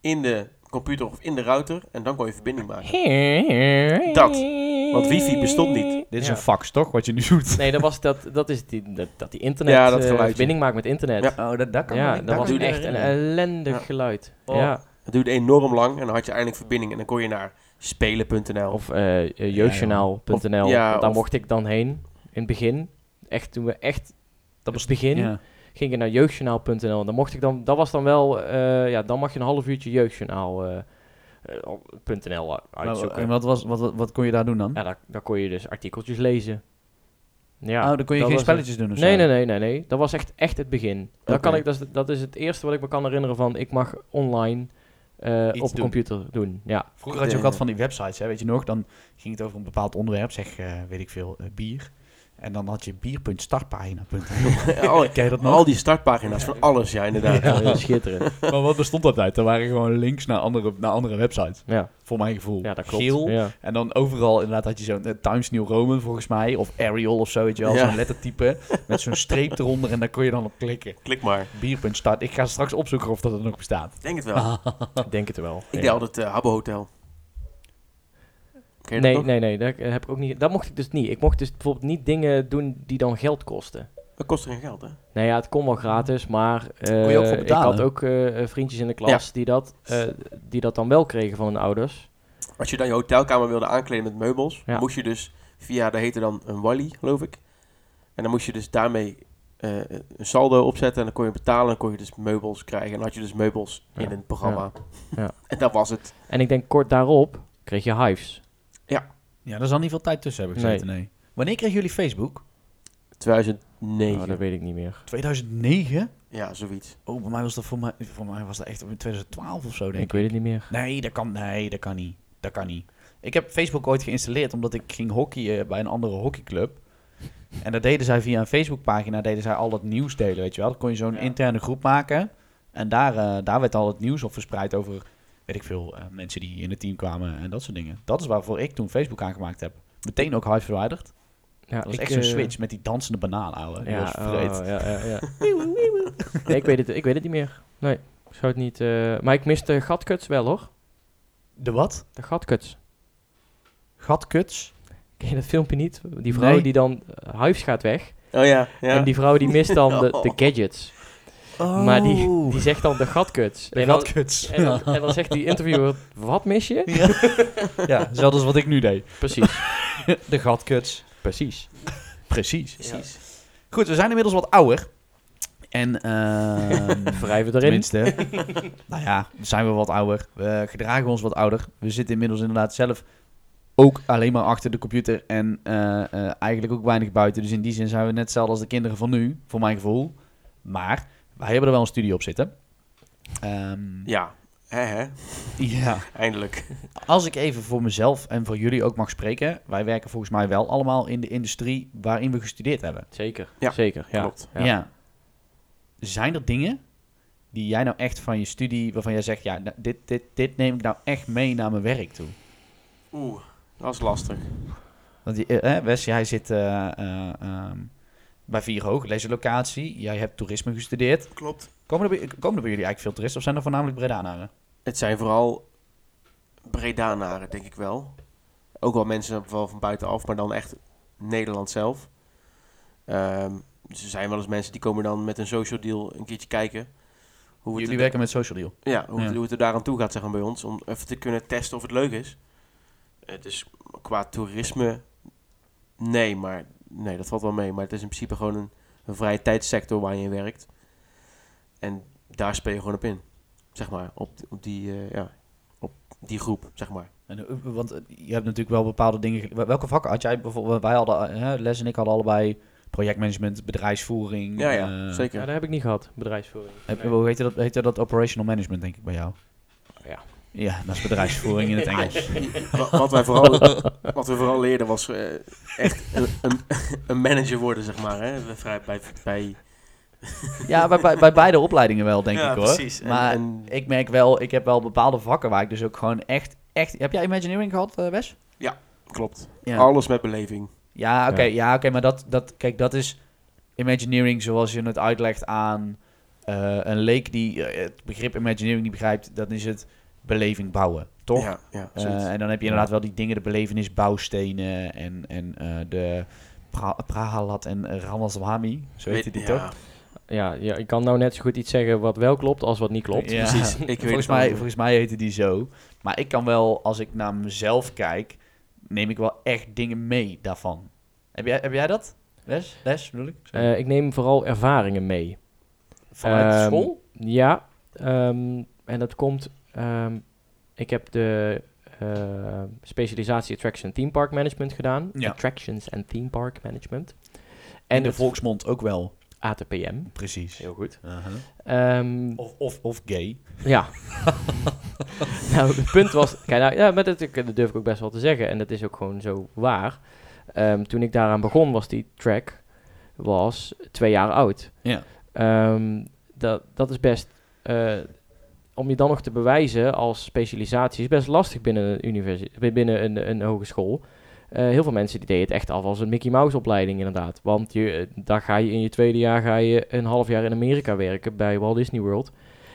in de computer of in de router en dan kon je verbinding maken. Dat. Want wifi bestond niet.
Dit is
Ja.
een fax, toch? Wat je nu doet.
Nee, dat, was, dat, dat is die, dat, dat die internet
Ja, dat
eh,
geluidje.
verbinding maakt met internet.
Ja.
Ja,
Oh, dat, dat kan me-
dat was
kan me
echt eh, een
herinneren.
ellendig
Ja.
geluid.
Oh.
Ja.
Het duurde enorm lang en dan had je eindelijk verbinding en dan kon je naar spelen.nl.
Of eh, eh, jeugdjournaal.nl.
Of- ja,
Want daar
of-
mocht ik dan heen. In het begin. Echt toen we echt... Dat was het begin.
Ja.
Ging ik naar jeugdjournaal.nl. En dan mocht ik dan... Dat was dan wel... eh, ja, dan mag je een half uurtje eh, jeugdjournaal.nl
Maar,
uitzoeken.
en wat, was, wat, wat, wat kon je daar doen dan?
Ja, daar, daar kon je dus artikeltjes lezen. Ja,
oh, dan kon je
dat
geen
was het.
spelletjes doen of zo?
Nee, nee, nee, nee, nee. Dat was echt, echt het begin.
Dus Oké.
Dat, kan ik, dat, is, dat is het eerste wat ik me kan herinneren van... ik mag online eh, op
Iets
een
doen.
computer doen. Ja,
Vroeger had je ook altijd van die websites, hè, weet je nog? Dan ging het over een bepaald onderwerp, zeg, eh, weet ik veel, eh, bier. En dan had je bier.startpagina.nl.
Oh,
Ken je dat nog?
al die startpagina's van alles, ja inderdaad.
ja. schitterend.
Maar wat bestond dat uit? Er waren gewoon links naar andere, naar andere websites,
Ja,
voor mijn gevoel.
ja dat klopt.
Geel.
Ja.
En dan overal inderdaad had je zo'n eh, Times New Roman volgens mij, of Arial of zo, weet je wel.
Ja.
Zo'n lettertype met zo'n streep eronder en daar kon je dan op klikken.
Klik maar.
Bier.start. Ik ga straks opzoeken of dat er nog bestaat.
Ik denk het wel.
Ik denk het wel.
Ik deed
Ja.
altijd eh Habbo Hotel. Ken je dat
Nee,
nog?
nee, nee, dat heb ik ook niet. Dat mocht ik dus niet. Ik mocht dus bijvoorbeeld niet dingen doen die dan geld kosten.
Dat kost geen geld, hè?
Nou ja, het kon wel gratis, maar eh,
Kon je ook voor
ik
betalen?
had ook eh, vriendjes in de klas die, dat, eh, die dat dan wel kregen van hun ouders.
Als je dan je hotelkamer wilde aankleden met meubels,
Ja.
moest je dus via, dat heette dan een Wally, geloof ik. En dan moest je dus daarmee eh, een saldo opzetten en dan kon je betalen. En dan kon je dus meubels krijgen. En dan had je dus meubels
Ja.
in het programma.
Ja.
en dat was het.
En ik denk kort daarop kreeg je Hives.
Ja, daar zal niet veel tijd tussen hebben gezeten, nee. Wanneer kregen jullie Facebook?
2009.
Oh, dat weet ik niet meer.
2009?
Ja, zoiets.
Oh, bij mij was dat voor mij, voor mij was dat echt in 2012 of zo, denk
Ik
ik.
weet het niet meer.
Nee, dat kan, nee, dat kan niet. Dat kan niet. Ik heb Facebook ooit geïnstalleerd omdat ik ging hockeyen bij een andere hockeyclub. En dat deden zij via een Facebookpagina, deden zij al dat nieuws delen, weet je wel. Dan kon je zo'n
Ja.
interne groep maken. En daar, eh, daar werd al het nieuws op verspreid over, weet ik veel, eh, mensen die in het team kwamen en dat soort dingen. Dat is waarvoor ik toen Facebook aangemaakt heb. Meteen ook hard verwijderd.
Ja,
Dat was
ik,
echt zo'n
eh,
switch met die dansende banaan, ouwe. Die
Ja,
was vreed.
oh, ja, ja, ja. nee, ik, weet het, ik weet het niet meer. Nee, ik zou het niet... eh, maar ik miste gatkuts wel, hoor.
De wat?
De gatkuts.
Gatkuts?
Ken je dat filmpje niet? Die vrouw
Nee.
die dan... eh, Hives gaat weg.
Oh ja, ja.
En die vrouw die mist dan de, de
Oh.
gadgets.
Oh.
Maar die, die zegt dan de gatkuts.
De
en, dan,
gatkuts.
en, dan, en dan zegt die interviewer, wat mis je?
Ja, hetzelfde als wat ik nu deed.
Precies,
De gatkuts.
precies.
Precies.
Precies.
Goed, we zijn inmiddels wat ouder. En ehm
Wrijven erin.
tenminste, nou ja, zijn we wat ouder. We gedragen ons wat ouder. We zitten inmiddels inderdaad zelf ook alleen maar achter de computer en eh, eh, eigenlijk ook weinig buiten. Dus in die zin zijn we net hetzelfde als de kinderen van nu, voor mijn gevoel. Maar wij hebben er wel een studie op zitten. Ehm,
Ja, hè, hè.
ja.
eindelijk.
Als ik even voor mezelf en voor jullie ook mag spreken. Wij werken volgens mij wel allemaal in de industrie waarin we gestudeerd hebben.
Zeker,
Ja,
zeker. Ja.
klopt.
Ja.
Ja. Zijn er dingen die jij nou echt van je studie, waarvan jij zegt, ja, nou, dit, dit, dit neem ik nou echt mee naar mijn werk toe?
Oeh, dat is lastig.
Want je- eh, eh, Wes, jij zit eh, eh, ehm, bij Vier Hoog, locatie. Jij hebt toerisme gestudeerd.
Klopt.
Komen er, bij, komen er bij jullie eigenlijk veel toeristen of zijn er voornamelijk Bredanaren?
Het zijn vooral Bredanaren, denk ik wel. Ook wel mensen wel van buitenaf, maar dan echt Nederland zelf. Ehm, dus er zijn wel eens mensen die komen dan met een social deal een keertje kijken. Hoe het
Jullie
er-
werken met Social Deal.
Ja, hoe,
Ja.
Het, hoe het er daaraan toe gaat, zeg maar, bij ons. Om even te kunnen testen of het leuk is. Het is qua toerisme... Nee, maar... Nee, dat valt wel mee. Maar het is in principe gewoon een, een vrije tijdssector waar je in werkt. En daar speel je gewoon op in. Zeg maar, op, op, die, eh, ja, op die groep, zeg maar.
En, eh, want eh, je hebt natuurlijk wel bepaalde dingen. ge- wel- Welke vakken had jij bijvoorbeeld? Wij hadden, eh, Les en ik hadden allebei projectmanagement, bedrijfsvoering.
Ja, ja,
eh,
Ja,
zeker.
dat heb ik niet gehad, bedrijfsvoering.
Heb-
Nee.
Hoe heet dat? Heet dat operational management, denk ik, bij jou?
Oh,
Ja.
Ja, dat is bedrijfsvoering in het Engels.
Wa- wat, wij vooral, wat we vooral leerden was eh, echt een, een, een manager worden, zeg maar. Hè? Vrij bij, bij,
Ja, bij, bij, bij beide opleidingen wel, denk
Ja,
ik hoor.
precies. En-
Maar
en-
ik merk wel, ik heb wel bepaalde vakken waar ik dus ook gewoon echt... echt heb jij Imagineering gehad, eh, Wes?
klopt.
Ja,
Alles met beleving.
ja oké,
Ja.
ja. oké, maar dat, dat, kijk, dat is Imagineering zoals je het uitlegt aan eh, een leek die eh, het begrip Imagineering niet begrijpt. Dan is het beleving bouwen, toch?
Ja, ja,
Eh,
zoiets.
en dan heb je inderdaad wel die dingen, de belevenis, bouwstenen en, en eh, de pra Prahalat en eh, Ramaswamy. Zo heet
Weet-
die
ja,
toch?
Ja, ja, ik kan nou net zo goed iets zeggen wat wel klopt als wat niet klopt.
Ja.
Precies. Ik weet
Volgens
het
mij,
ook.
volgens mij heette die zo. Maar ik kan wel, als ik naar mezelf kijk, neem ik wel echt dingen mee daarvan. Heb jij, heb jij dat? Les? Les bedoel ik? Sorry.
Eh, ik neem vooral ervaringen mee.
Vanuit
ehm,
school?
Ja, ehm, en dat komt. ehm, ik heb de eh, specialisatie Attraction Theme Park Management gedaan.
Ja.
Attractions and Theme Park Management.
En
En
de
het
volksmond ook wel.
ATPM.
Precies.
goed.
Uh-huh.
Ehm,
Of, of, of gay.
ja. nou, het punt was. Kijk, nou, ja, maar dat, dat durf ik ook best wel te zeggen. En dat is ook gewoon zo waar. Ehm, toen ik daaraan begon, was die track was twee jaar oud.
Ja.
Ehm, dat, dat is best. eh, om je dan nog te bewijzen als specialisatie is best lastig binnen een, universiteit, binnen een, een hogeschool. Eh, heel veel mensen die deden het echt af als een Mickey Mouse opleiding inderdaad. Want je, eh, daar ga je in je tweede jaar ga je een half jaar in Amerika werken bij Walt Disney World.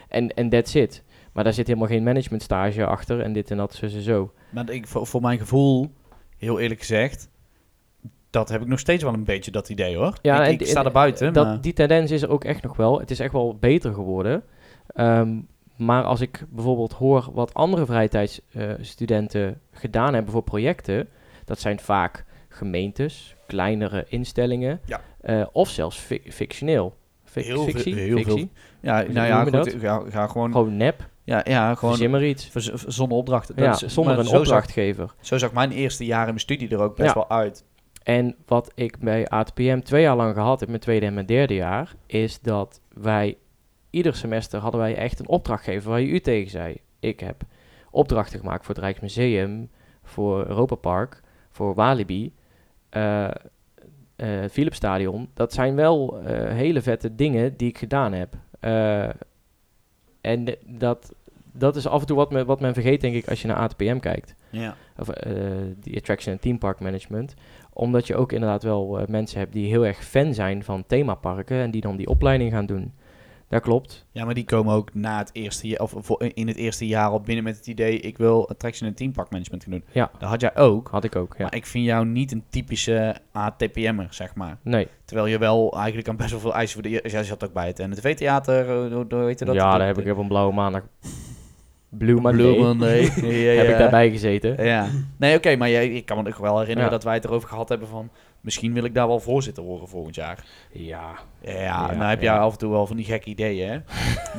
En en that's it. Maar daar zit helemaal geen management stage achter en dit en dat, zo en zo.
Maar ik, voor, voor mijn gevoel, heel eerlijk gezegd, dat heb ik nog steeds wel een beetje dat idee hoor.
Ja,
ik,
en
ik
die-
sta
en
er buiten,
Dat,
maar...
Die tendens is er ook echt nog wel. Het is echt wel beter geworden. Ehm, maar als ik bijvoorbeeld hoor wat andere eh, vrijtijdsstudenten gedaan hebben voor projecten, dat zijn vaak gemeentes, kleinere instellingen.
Ja.
Eh, of zelfs fi- fictioneel. Fic-
Heel veel-
fictie?
heel veel.
fictie?
Ja,
Hoe
nou ja,
noem je
goed, ga, ga gewoon...
Gewoon nep.
Ja, ja gewoon
Verzin maar iets.
vers- zonder opdracht.
Ja,
Dat is-
zonder
maar
een
zo zag-
opdrachtgever.
Zo zag mijn eerste jaar in mijn studie er ook best
Ja.
wel uit.
En wat ik bij ATPM twee jaar lang gehad heb, mijn tweede en mijn derde jaar, is dat wij ieder semester hadden wij echt een opdrachtgever waar je u tegen zei. Ik heb opdrachten gemaakt voor het Rijksmuseum, voor Europa Park, voor Walibi, eh eh, het Philipsstadion. Dat zijn wel eh, hele vette dingen die ik gedaan heb. Eh, en dat, dat is af en toe wat men, wat men vergeet, denk ik, als je naar ATPM kijkt
Ja.
of eh, die attraction en theme park management. Omdat je ook inderdaad wel eh, mensen hebt die heel erg fan zijn van themaparken en die dan die opleiding gaan doen. Dat klopt.
ja, maar die komen ook na het eerste jaar, of voor- in het eerste jaar al binnen met het idee, ik wil attraction en teampark management gaan doen.
Ja.
Dat had jij ook.
Had ik ook, ja.
Maar ik vind jou niet een typische ATPM'er, zeg maar.
Nee,
Terwijl je wel eigenlijk aan best wel veel eisen voor de... Jij zat ook bij het NTV-theater, hoe heet dat?
ja,
Dat-
daar heb ik op een blauwe maandag. Blue Monday
Blue Monday. Ja,
heb
ja.
ik daarbij gezeten.
Ja. Nee, oké, maar jij, ik kan me nog wel herinneren
Ja.
dat wij het erover gehad hebben van... Misschien wil ik daar wel voorzitter horen volgend jaar.
Ja.
Ja,
Ja,
en dan heb
ja.
jij af en toe wel van die gekke ideeën, hè?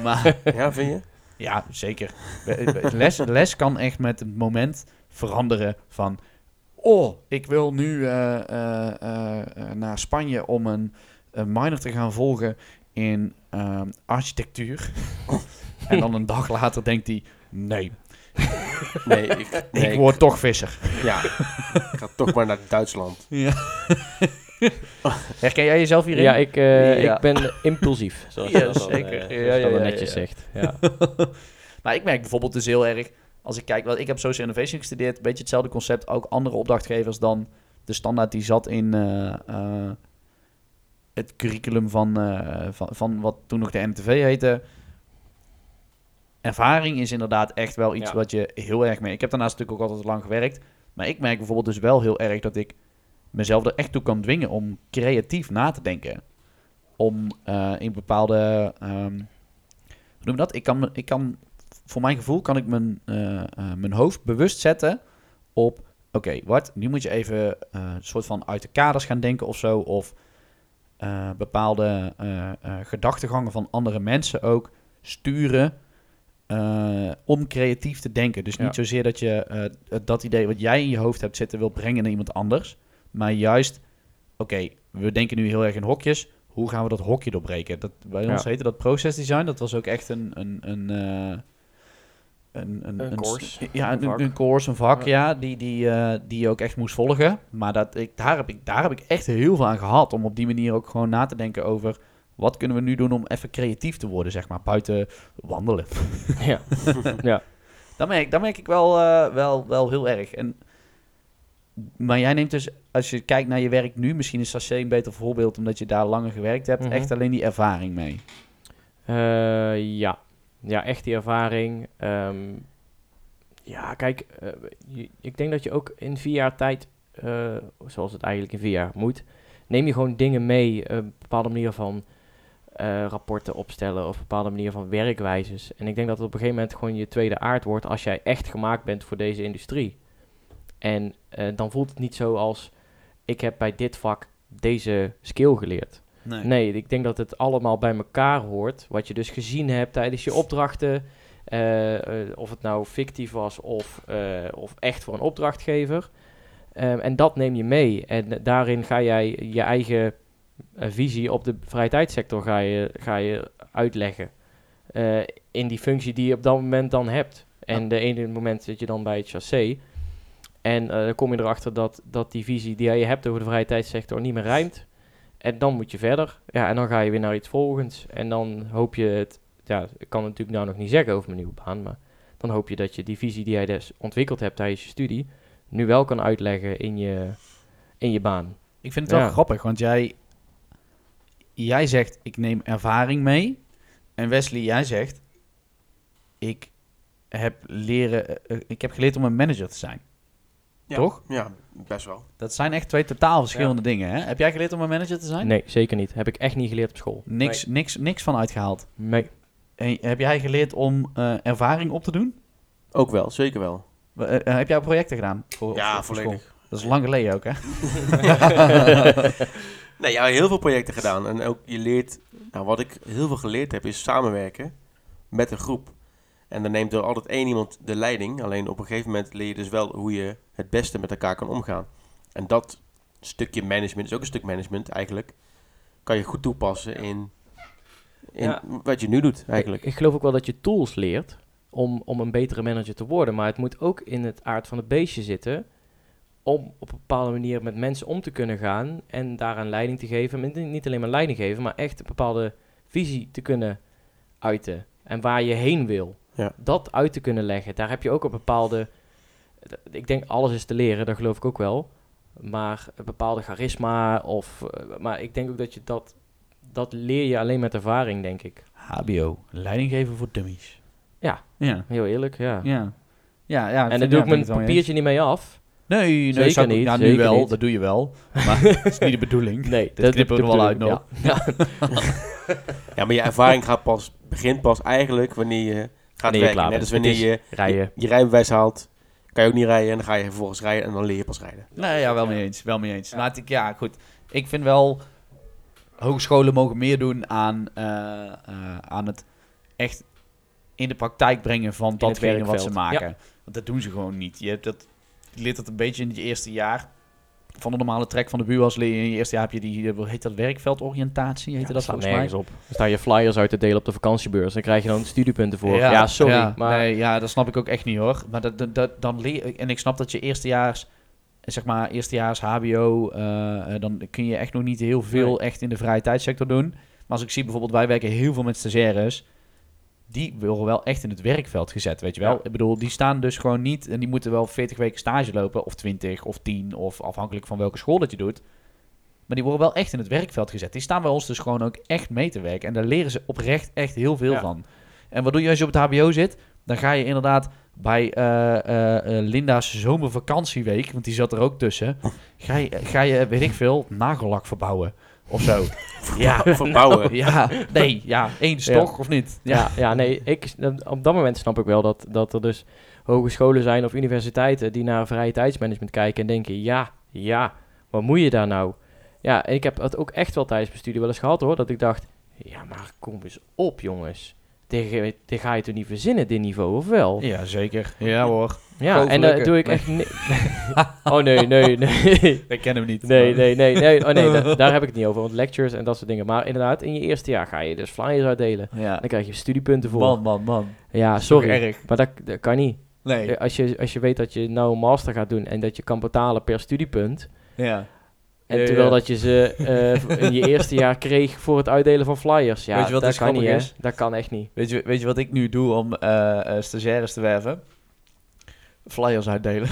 maar
Ja, vind je?
ja, zeker. Les, les kan echt met het moment veranderen van... Oh, ik wil nu eh, eh, eh, eh, naar Spanje om een, een minor te gaan volgen in ehm, architectuur. en dan een dag later denkt hij... Nee,
Nee, ik, nee,
ik word toch visser.
Ja, ik ga toch maar naar Duitsland.
Herken jij jezelf hierin?
Ja, ik, eh,
Ja.
ik ben impulsief, zoals
Ja,
je dat dan, eh,
zeker.
zoals
Ja,
je dat
ja,
dan
ja,
netjes
ja.
zegt. Ja.
Maar ik merk bijvoorbeeld dus heel erg, als ik kijk, wel, ik heb social innovation gestudeerd, een beetje hetzelfde concept, ook andere opdrachtgevers dan de standaard die zat in eh, eh, het curriculum van, eh, van, van wat toen nog de MTV heette. Ervaring is inderdaad echt wel iets
Ja.
wat je heel erg mee. Ik heb daarnaast natuurlijk ook altijd lang gewerkt, maar ik merk bijvoorbeeld dus wel heel erg dat ik mezelf er echt toe kan dwingen om creatief na te denken. Om eh, in bepaalde. ehm, hoe noem je dat? Ik kan, me- ik kan, voor mijn gevoel kan ik mijn, eh, eh, mijn hoofd bewust zetten op. Oké, wat? Nu moet je even eh, een soort van uit de kaders gaan denken of zo. Of eh, bepaalde eh, eh, gedachtegangen van andere mensen ook sturen. eh, om creatief te denken. Dus niet
Ja.
zozeer dat je eh, dat idee wat jij in je hoofd hebt zitten wil brengen naar iemand anders. Maar juist, oké, we denken nu heel erg in hokjes. Hoe gaan we dat hokje doorbreken? Dat, bij
Ja.
ons heette dat process design. Dat was ook echt een... een, een eh, een, een,
Een course,
Ja,
een
een, een,
vak.
course, een vak, ja. die, die, eh, die je ook echt moest volgen. Maar dat ik, daar, heb ik, daar heb ik echt heel veel aan gehad. Om op die manier ook gewoon na te denken over... wat kunnen we nu doen om even creatief te worden, zeg maar. Buiten wandelen.
ja.
Dat merk, dat merk ik wel, eh, wel, wel heel erg. En, maar jij neemt dus, als je kijkt naar je werk nu, misschien is Saché een beter voorbeeld omdat je daar langer gewerkt hebt,
Mhm.
echt alleen die ervaring mee.
Eh, ja. ja, echt die ervaring. Ehm, ja, kijk, eh, je- ik denk dat je ook in vier jaar tijd, eh, zoals het eigenlijk in vier jaar moet, neem je gewoon dingen mee, eh, een bepaalde manier van eh, rapporten opstellen of een bepaalde manier van werkwijzes. En ik denk dat het op een gegeven moment gewoon je tweede aard wordt als jij echt gemaakt bent voor deze industrie. En eh, dan voelt het niet zo als, ik heb bij dit vak deze skill geleerd. Nee, ik denk dat het allemaal bij elkaar hoort. Wat je dus gezien hebt tijdens je opdrachten. eh, eh, of het nou fictief was of, eh, of echt voor een opdrachtgever. Ehm, en dat neem je mee. En daarin ga jij je eigen eh, visie op de vrije tijdsector ga je, ga je uitleggen. Eh, in die functie die je op dat moment dan hebt. En de ene moment zit je dan bij het chassé. En eh, dan kom je erachter dat, dat die visie die je hebt over de vrije tijdsector niet meer rijmt. En dan moet je verder. Ja, en dan ga je weer naar iets volgens. En dan hoop je het. Ja, ik kan het natuurlijk nou nog niet zeggen over mijn nieuwe baan. Maar dan hoop je dat je die visie die jij dus ontwikkeld hebt tijdens je studie. nu wel kan uitleggen in je, in je baan.
Ik vind het wel
Ja.
grappig, want jij, jij zegt ik neem ervaring mee. En Wesley, jij zegt ik heb, leren, eh, eh, ik heb geleerd om een manager te zijn.
Ja,
Toch?
Ja, best wel.
Dat zijn echt twee totaal verschillende dingen. Hè? Heb jij geleerd om een manager te zijn?
Nee, zeker niet. Heb ik echt niet geleerd op school.
Niks, niks, niks van uitgehaald.
Nee.
En heb jij geleerd om eh, ervaring op te doen?
Ook wel, zeker wel.
Eh, eh, heb jij projecten gedaan? Voor,
ja,
voor- voor
volledig.
school? Dat is lang geleden ook, hè?
nee, ja, heel veel projecten gedaan. En ook je leert, nou wat ik heel veel geleerd heb, is samenwerken met een groep. En dan neemt er altijd één iemand de leiding. Alleen op een gegeven moment leer je dus wel hoe je het beste met elkaar kan omgaan. En dat stukje management, is ook een stuk management eigenlijk, kan je goed toepassen in, in
Ja.
wat je nu doet eigenlijk.
Ik, ik geloof ook wel dat je tools leert om, om een betere manager te worden. Maar het moet ook in het aard van het beestje zitten. Om op een bepaalde manier met mensen om te kunnen gaan. En daaraan leiding te geven. Maar niet- Niet alleen maar leiding geven, maar echt een bepaalde visie te kunnen uiten. En waar je heen wil.
Ja.
Dat uit te kunnen leggen. Daar heb je ook een bepaalde. Ik denk alles is te leren, dat geloof ik ook wel. Maar een bepaalde charisma of. eh, Maar ik denk ook dat je dat. Dat leer je alleen met ervaring, denk ik.
HBO, leidinggeven voor dummies.
Ja.
Ja,
Heel eerlijk, ja.
ja. Ja, ja.
en dan doe ik mijn papiertje niet mee af.
Nee, nee
Zeker
zou ik-
niet,
Ja, nu
zeker
wel.
niet.
Dat doe je wel. Maar dat is niet de bedoeling.
Nee,
dat knippen we er wel uit nog.
Ja.
Ja, maar je ervaring gaat pas, begint pas eigenlijk wanneer je gaat
Wanneer je
werken.
klaar
Net als
bent. Het
wanneer
is-
je,
Rijden.
je rijbewijs haalt, kan je ook niet rijden. En dan ga je vervolgens rijden en dan leer je pas rijden.
Nee, ja, wel mee eens. Wel mee eens. Laat ik, ja, goed. Ik vind wel, hogescholen mogen meer doen aan, eh, eh, aan het echt in de praktijk brengen van
het
datgene wat ze
werkveld,
maken. Want dat doen ze gewoon niet. Je, hebt dat, je leert dat een beetje in je eerste jaar. Van de normale trek van de buurwas leer je in je eerste jaar heb je die, eh, hoe heet dat, werkveldoriëntatie? Heette
Ja,
dat
slaat
volgens mij?
nergens op. Dan sta je flyers uit te delen op de vakantiebeurs. Dan krijg je dan studiepunten voor. Ja, sorry. maar
nee, ja, dat snap ik ook echt niet hoor. Maar dat, dat, dat- dan leer En ik snap dat je eerstejaars, zeg maar, eerstejaars HBO, eh, eh, dan kun je echt nog niet heel veel
Nee.
echt in de vrije tijdsector doen. Maar als ik zie bijvoorbeeld, wij werken heel veel met stagiaires. Die worden wel echt in het werkveld gezet, weet je wel.
Ja.
Ik bedoel, die staan dus gewoon niet... en die moeten wel 40 weken stage lopen... of 20 of 10 of afhankelijk van welke school dat je doet. Maar die worden wel echt in het werkveld gezet. Die staan bij ons dus gewoon ook echt mee te werken. En daar leren ze oprecht echt heel veel
Ja.
van. En wat doe je als je op het HBO zit? Dan ga je inderdaad bij eh, eh, eh, Linda's zomervakantieweek, want die zat er ook tussen. Ga je, ga je weet ik veel, nagellak verbouwen of zo. ja,
Verbouwen.
ja, nee, ja, eens
Ja.
toch of niet? Ja.
ja, ja, nee. Ik, op dat moment snap ik wel dat, dat er dus hogescholen zijn of universiteiten die naar vrije tijdsmanagement kijken en denken: ja, ja, wat moet je daar nou? Ja, en ik heb het ook echt wel tijdens mijn studie wel eens gehad hoor. Dat ik dacht: ja, maar kom eens op, jongens. Dit, dit ga je toch niet verzinnen, dit niveau, of wel?
Ja, zeker. Ja hoor.
Ja,
Gewoon
en dat
gelukkig.
doe ik echt ni- oh nee, nee, nee.
Ik ken hem niet.
Nee, nee, nee, nee. Oh nee, da- daar heb ik het niet over. Want lectures en dat soort dingen. Maar inderdaad, in je eerste jaar ga je dus flyers uitdelen.
Ja.
Dan krijg je studiepunten voor.
Man, man, man.
ja,
Sorry.
sorry.
Erg.
Maar dat, dat kan niet. Eh,
Nee.
Als je, als je weet dat je nou een master gaat doen en dat je kan betalen per studiepunt.
Ja.
En
Ja,
terwijl
ja.
dat je ze eh, in je eerste jaar kreeg voor het uitdelen van flyers. Ja,
Weet je wat
dat
dus
kan niet,
grappig
hè.
is?
Dat kan echt niet.
Weet je, weet je wat ik nu doe om eh, eh, stagiaires te werven? Flyers uitdelen.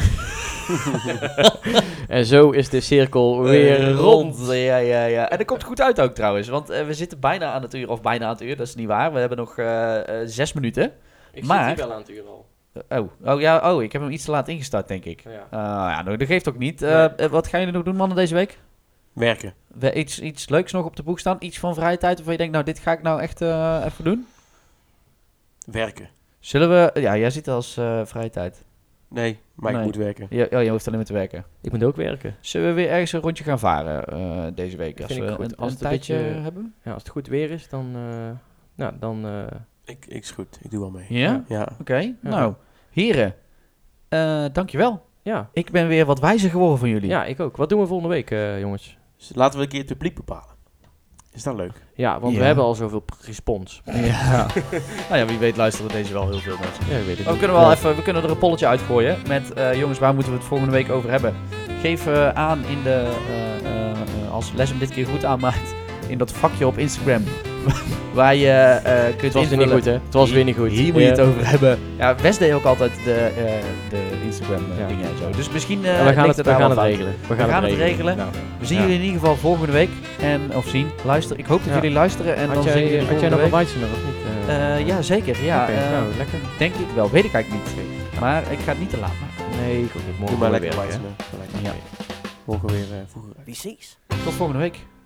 En zo is de cirkel weer
Eh,
rond.
Ja, ja, ja. En dat komt goed uit ook trouwens. Want eh, we zitten bijna aan het uur, of bijna aan het uur, dat is niet waar. We hebben nog eh, eh, zes minuten.
Ik
zit Maar- hier
wel aan het uur al.
Oh, oh, ja, oh, ik heb hem iets te laat ingestart, denk ik.
Oh, Ja.
Eh, ja, nou, dat geeft ook niet. Eh,
Nee.
eh, wat gaan jullie nog doen, mannen, deze week?
Werken.
We, iets, iets leuks nog op de boek staan? Iets van vrije tijd? Of je denkt, nou, dit ga ik nou echt eh, even doen?
Werken.
Zullen we... Ja, jij ziet het als eh, vrije tijd.
Nee, maar
Nee.
ik moet werken.
Je, oh, je hoeft alleen maar te werken.
Ik moet ook werken.
Zullen we weer ergens een rondje gaan varen eh, deze week?
Dat
als
vind
we
ik goed.
een,
Als
een
het een
tijdje
beetje-
hebben?
Ja, als het goed weer is, dan... eh, nou, dan... eh,
Ik, ik is goed. Ik doe wel mee.
Ja? Oké,
Ja.
nou. Heren, eh, dankjewel.
ja.
Ik ben weer wat wijzer geworden van jullie.
ja, ik ook. Wat doen we volgende week, eh, jongens?
Dus laten we een keer het publiek bepalen. Is dat leuk?
Ja, want
Ja.
we hebben al zoveel p- respons.
Ja. nou ja, wie weet luisteren deze wel heel veel mensen.
Ja, ik weet het
Maar we
niet.
kunnen wel
Ja.
even, we kunnen er een polletje uitgooien met eh, jongens, waar moeten we het volgende week over hebben? Geef eh, aan in de, eh, eh, eh, als Les hem dit keer goed aanmaakt, in dat vakje op Instagram. waar je eh, kunt
Het was weer niet
invullen-
goed, hè? Het was weer niet goed.
Hier moet je
Ja.
het over hebben. Ja, Wes deed ook altijd de, eh, de Instagram eh,
Ja.
dingen en zo. Dus misschien eh,
Ja, we gaan
ligt
het,
het
we
daar
gaan
wel
het
van.
regelen. We gaan,
gaan het
het regelen.
regelen.
Nou,
We zien
Ja.
jullie in ieder geval volgende week. En, of zien, luister. Ik hoop dat
Ja.
jullie luisteren. En
had,
dan zien we
jij,
jullie
had jij
volgende
nog een
week.
wijtje nog, of niet? Eh,
Eh, ja, zeker. Ja,
oké,
eh,
nou, lekker.
denk ik wel. Weet ik eigenlijk niet. Maar ik ga het niet te laat maken.
Nee, ik ook niet.
Doe
Morgen
maar
weer
lekker
werken, hè.
wijzen. Lekker.
Ja.
Morgen weer eh, vroeger.
Tot volgende week.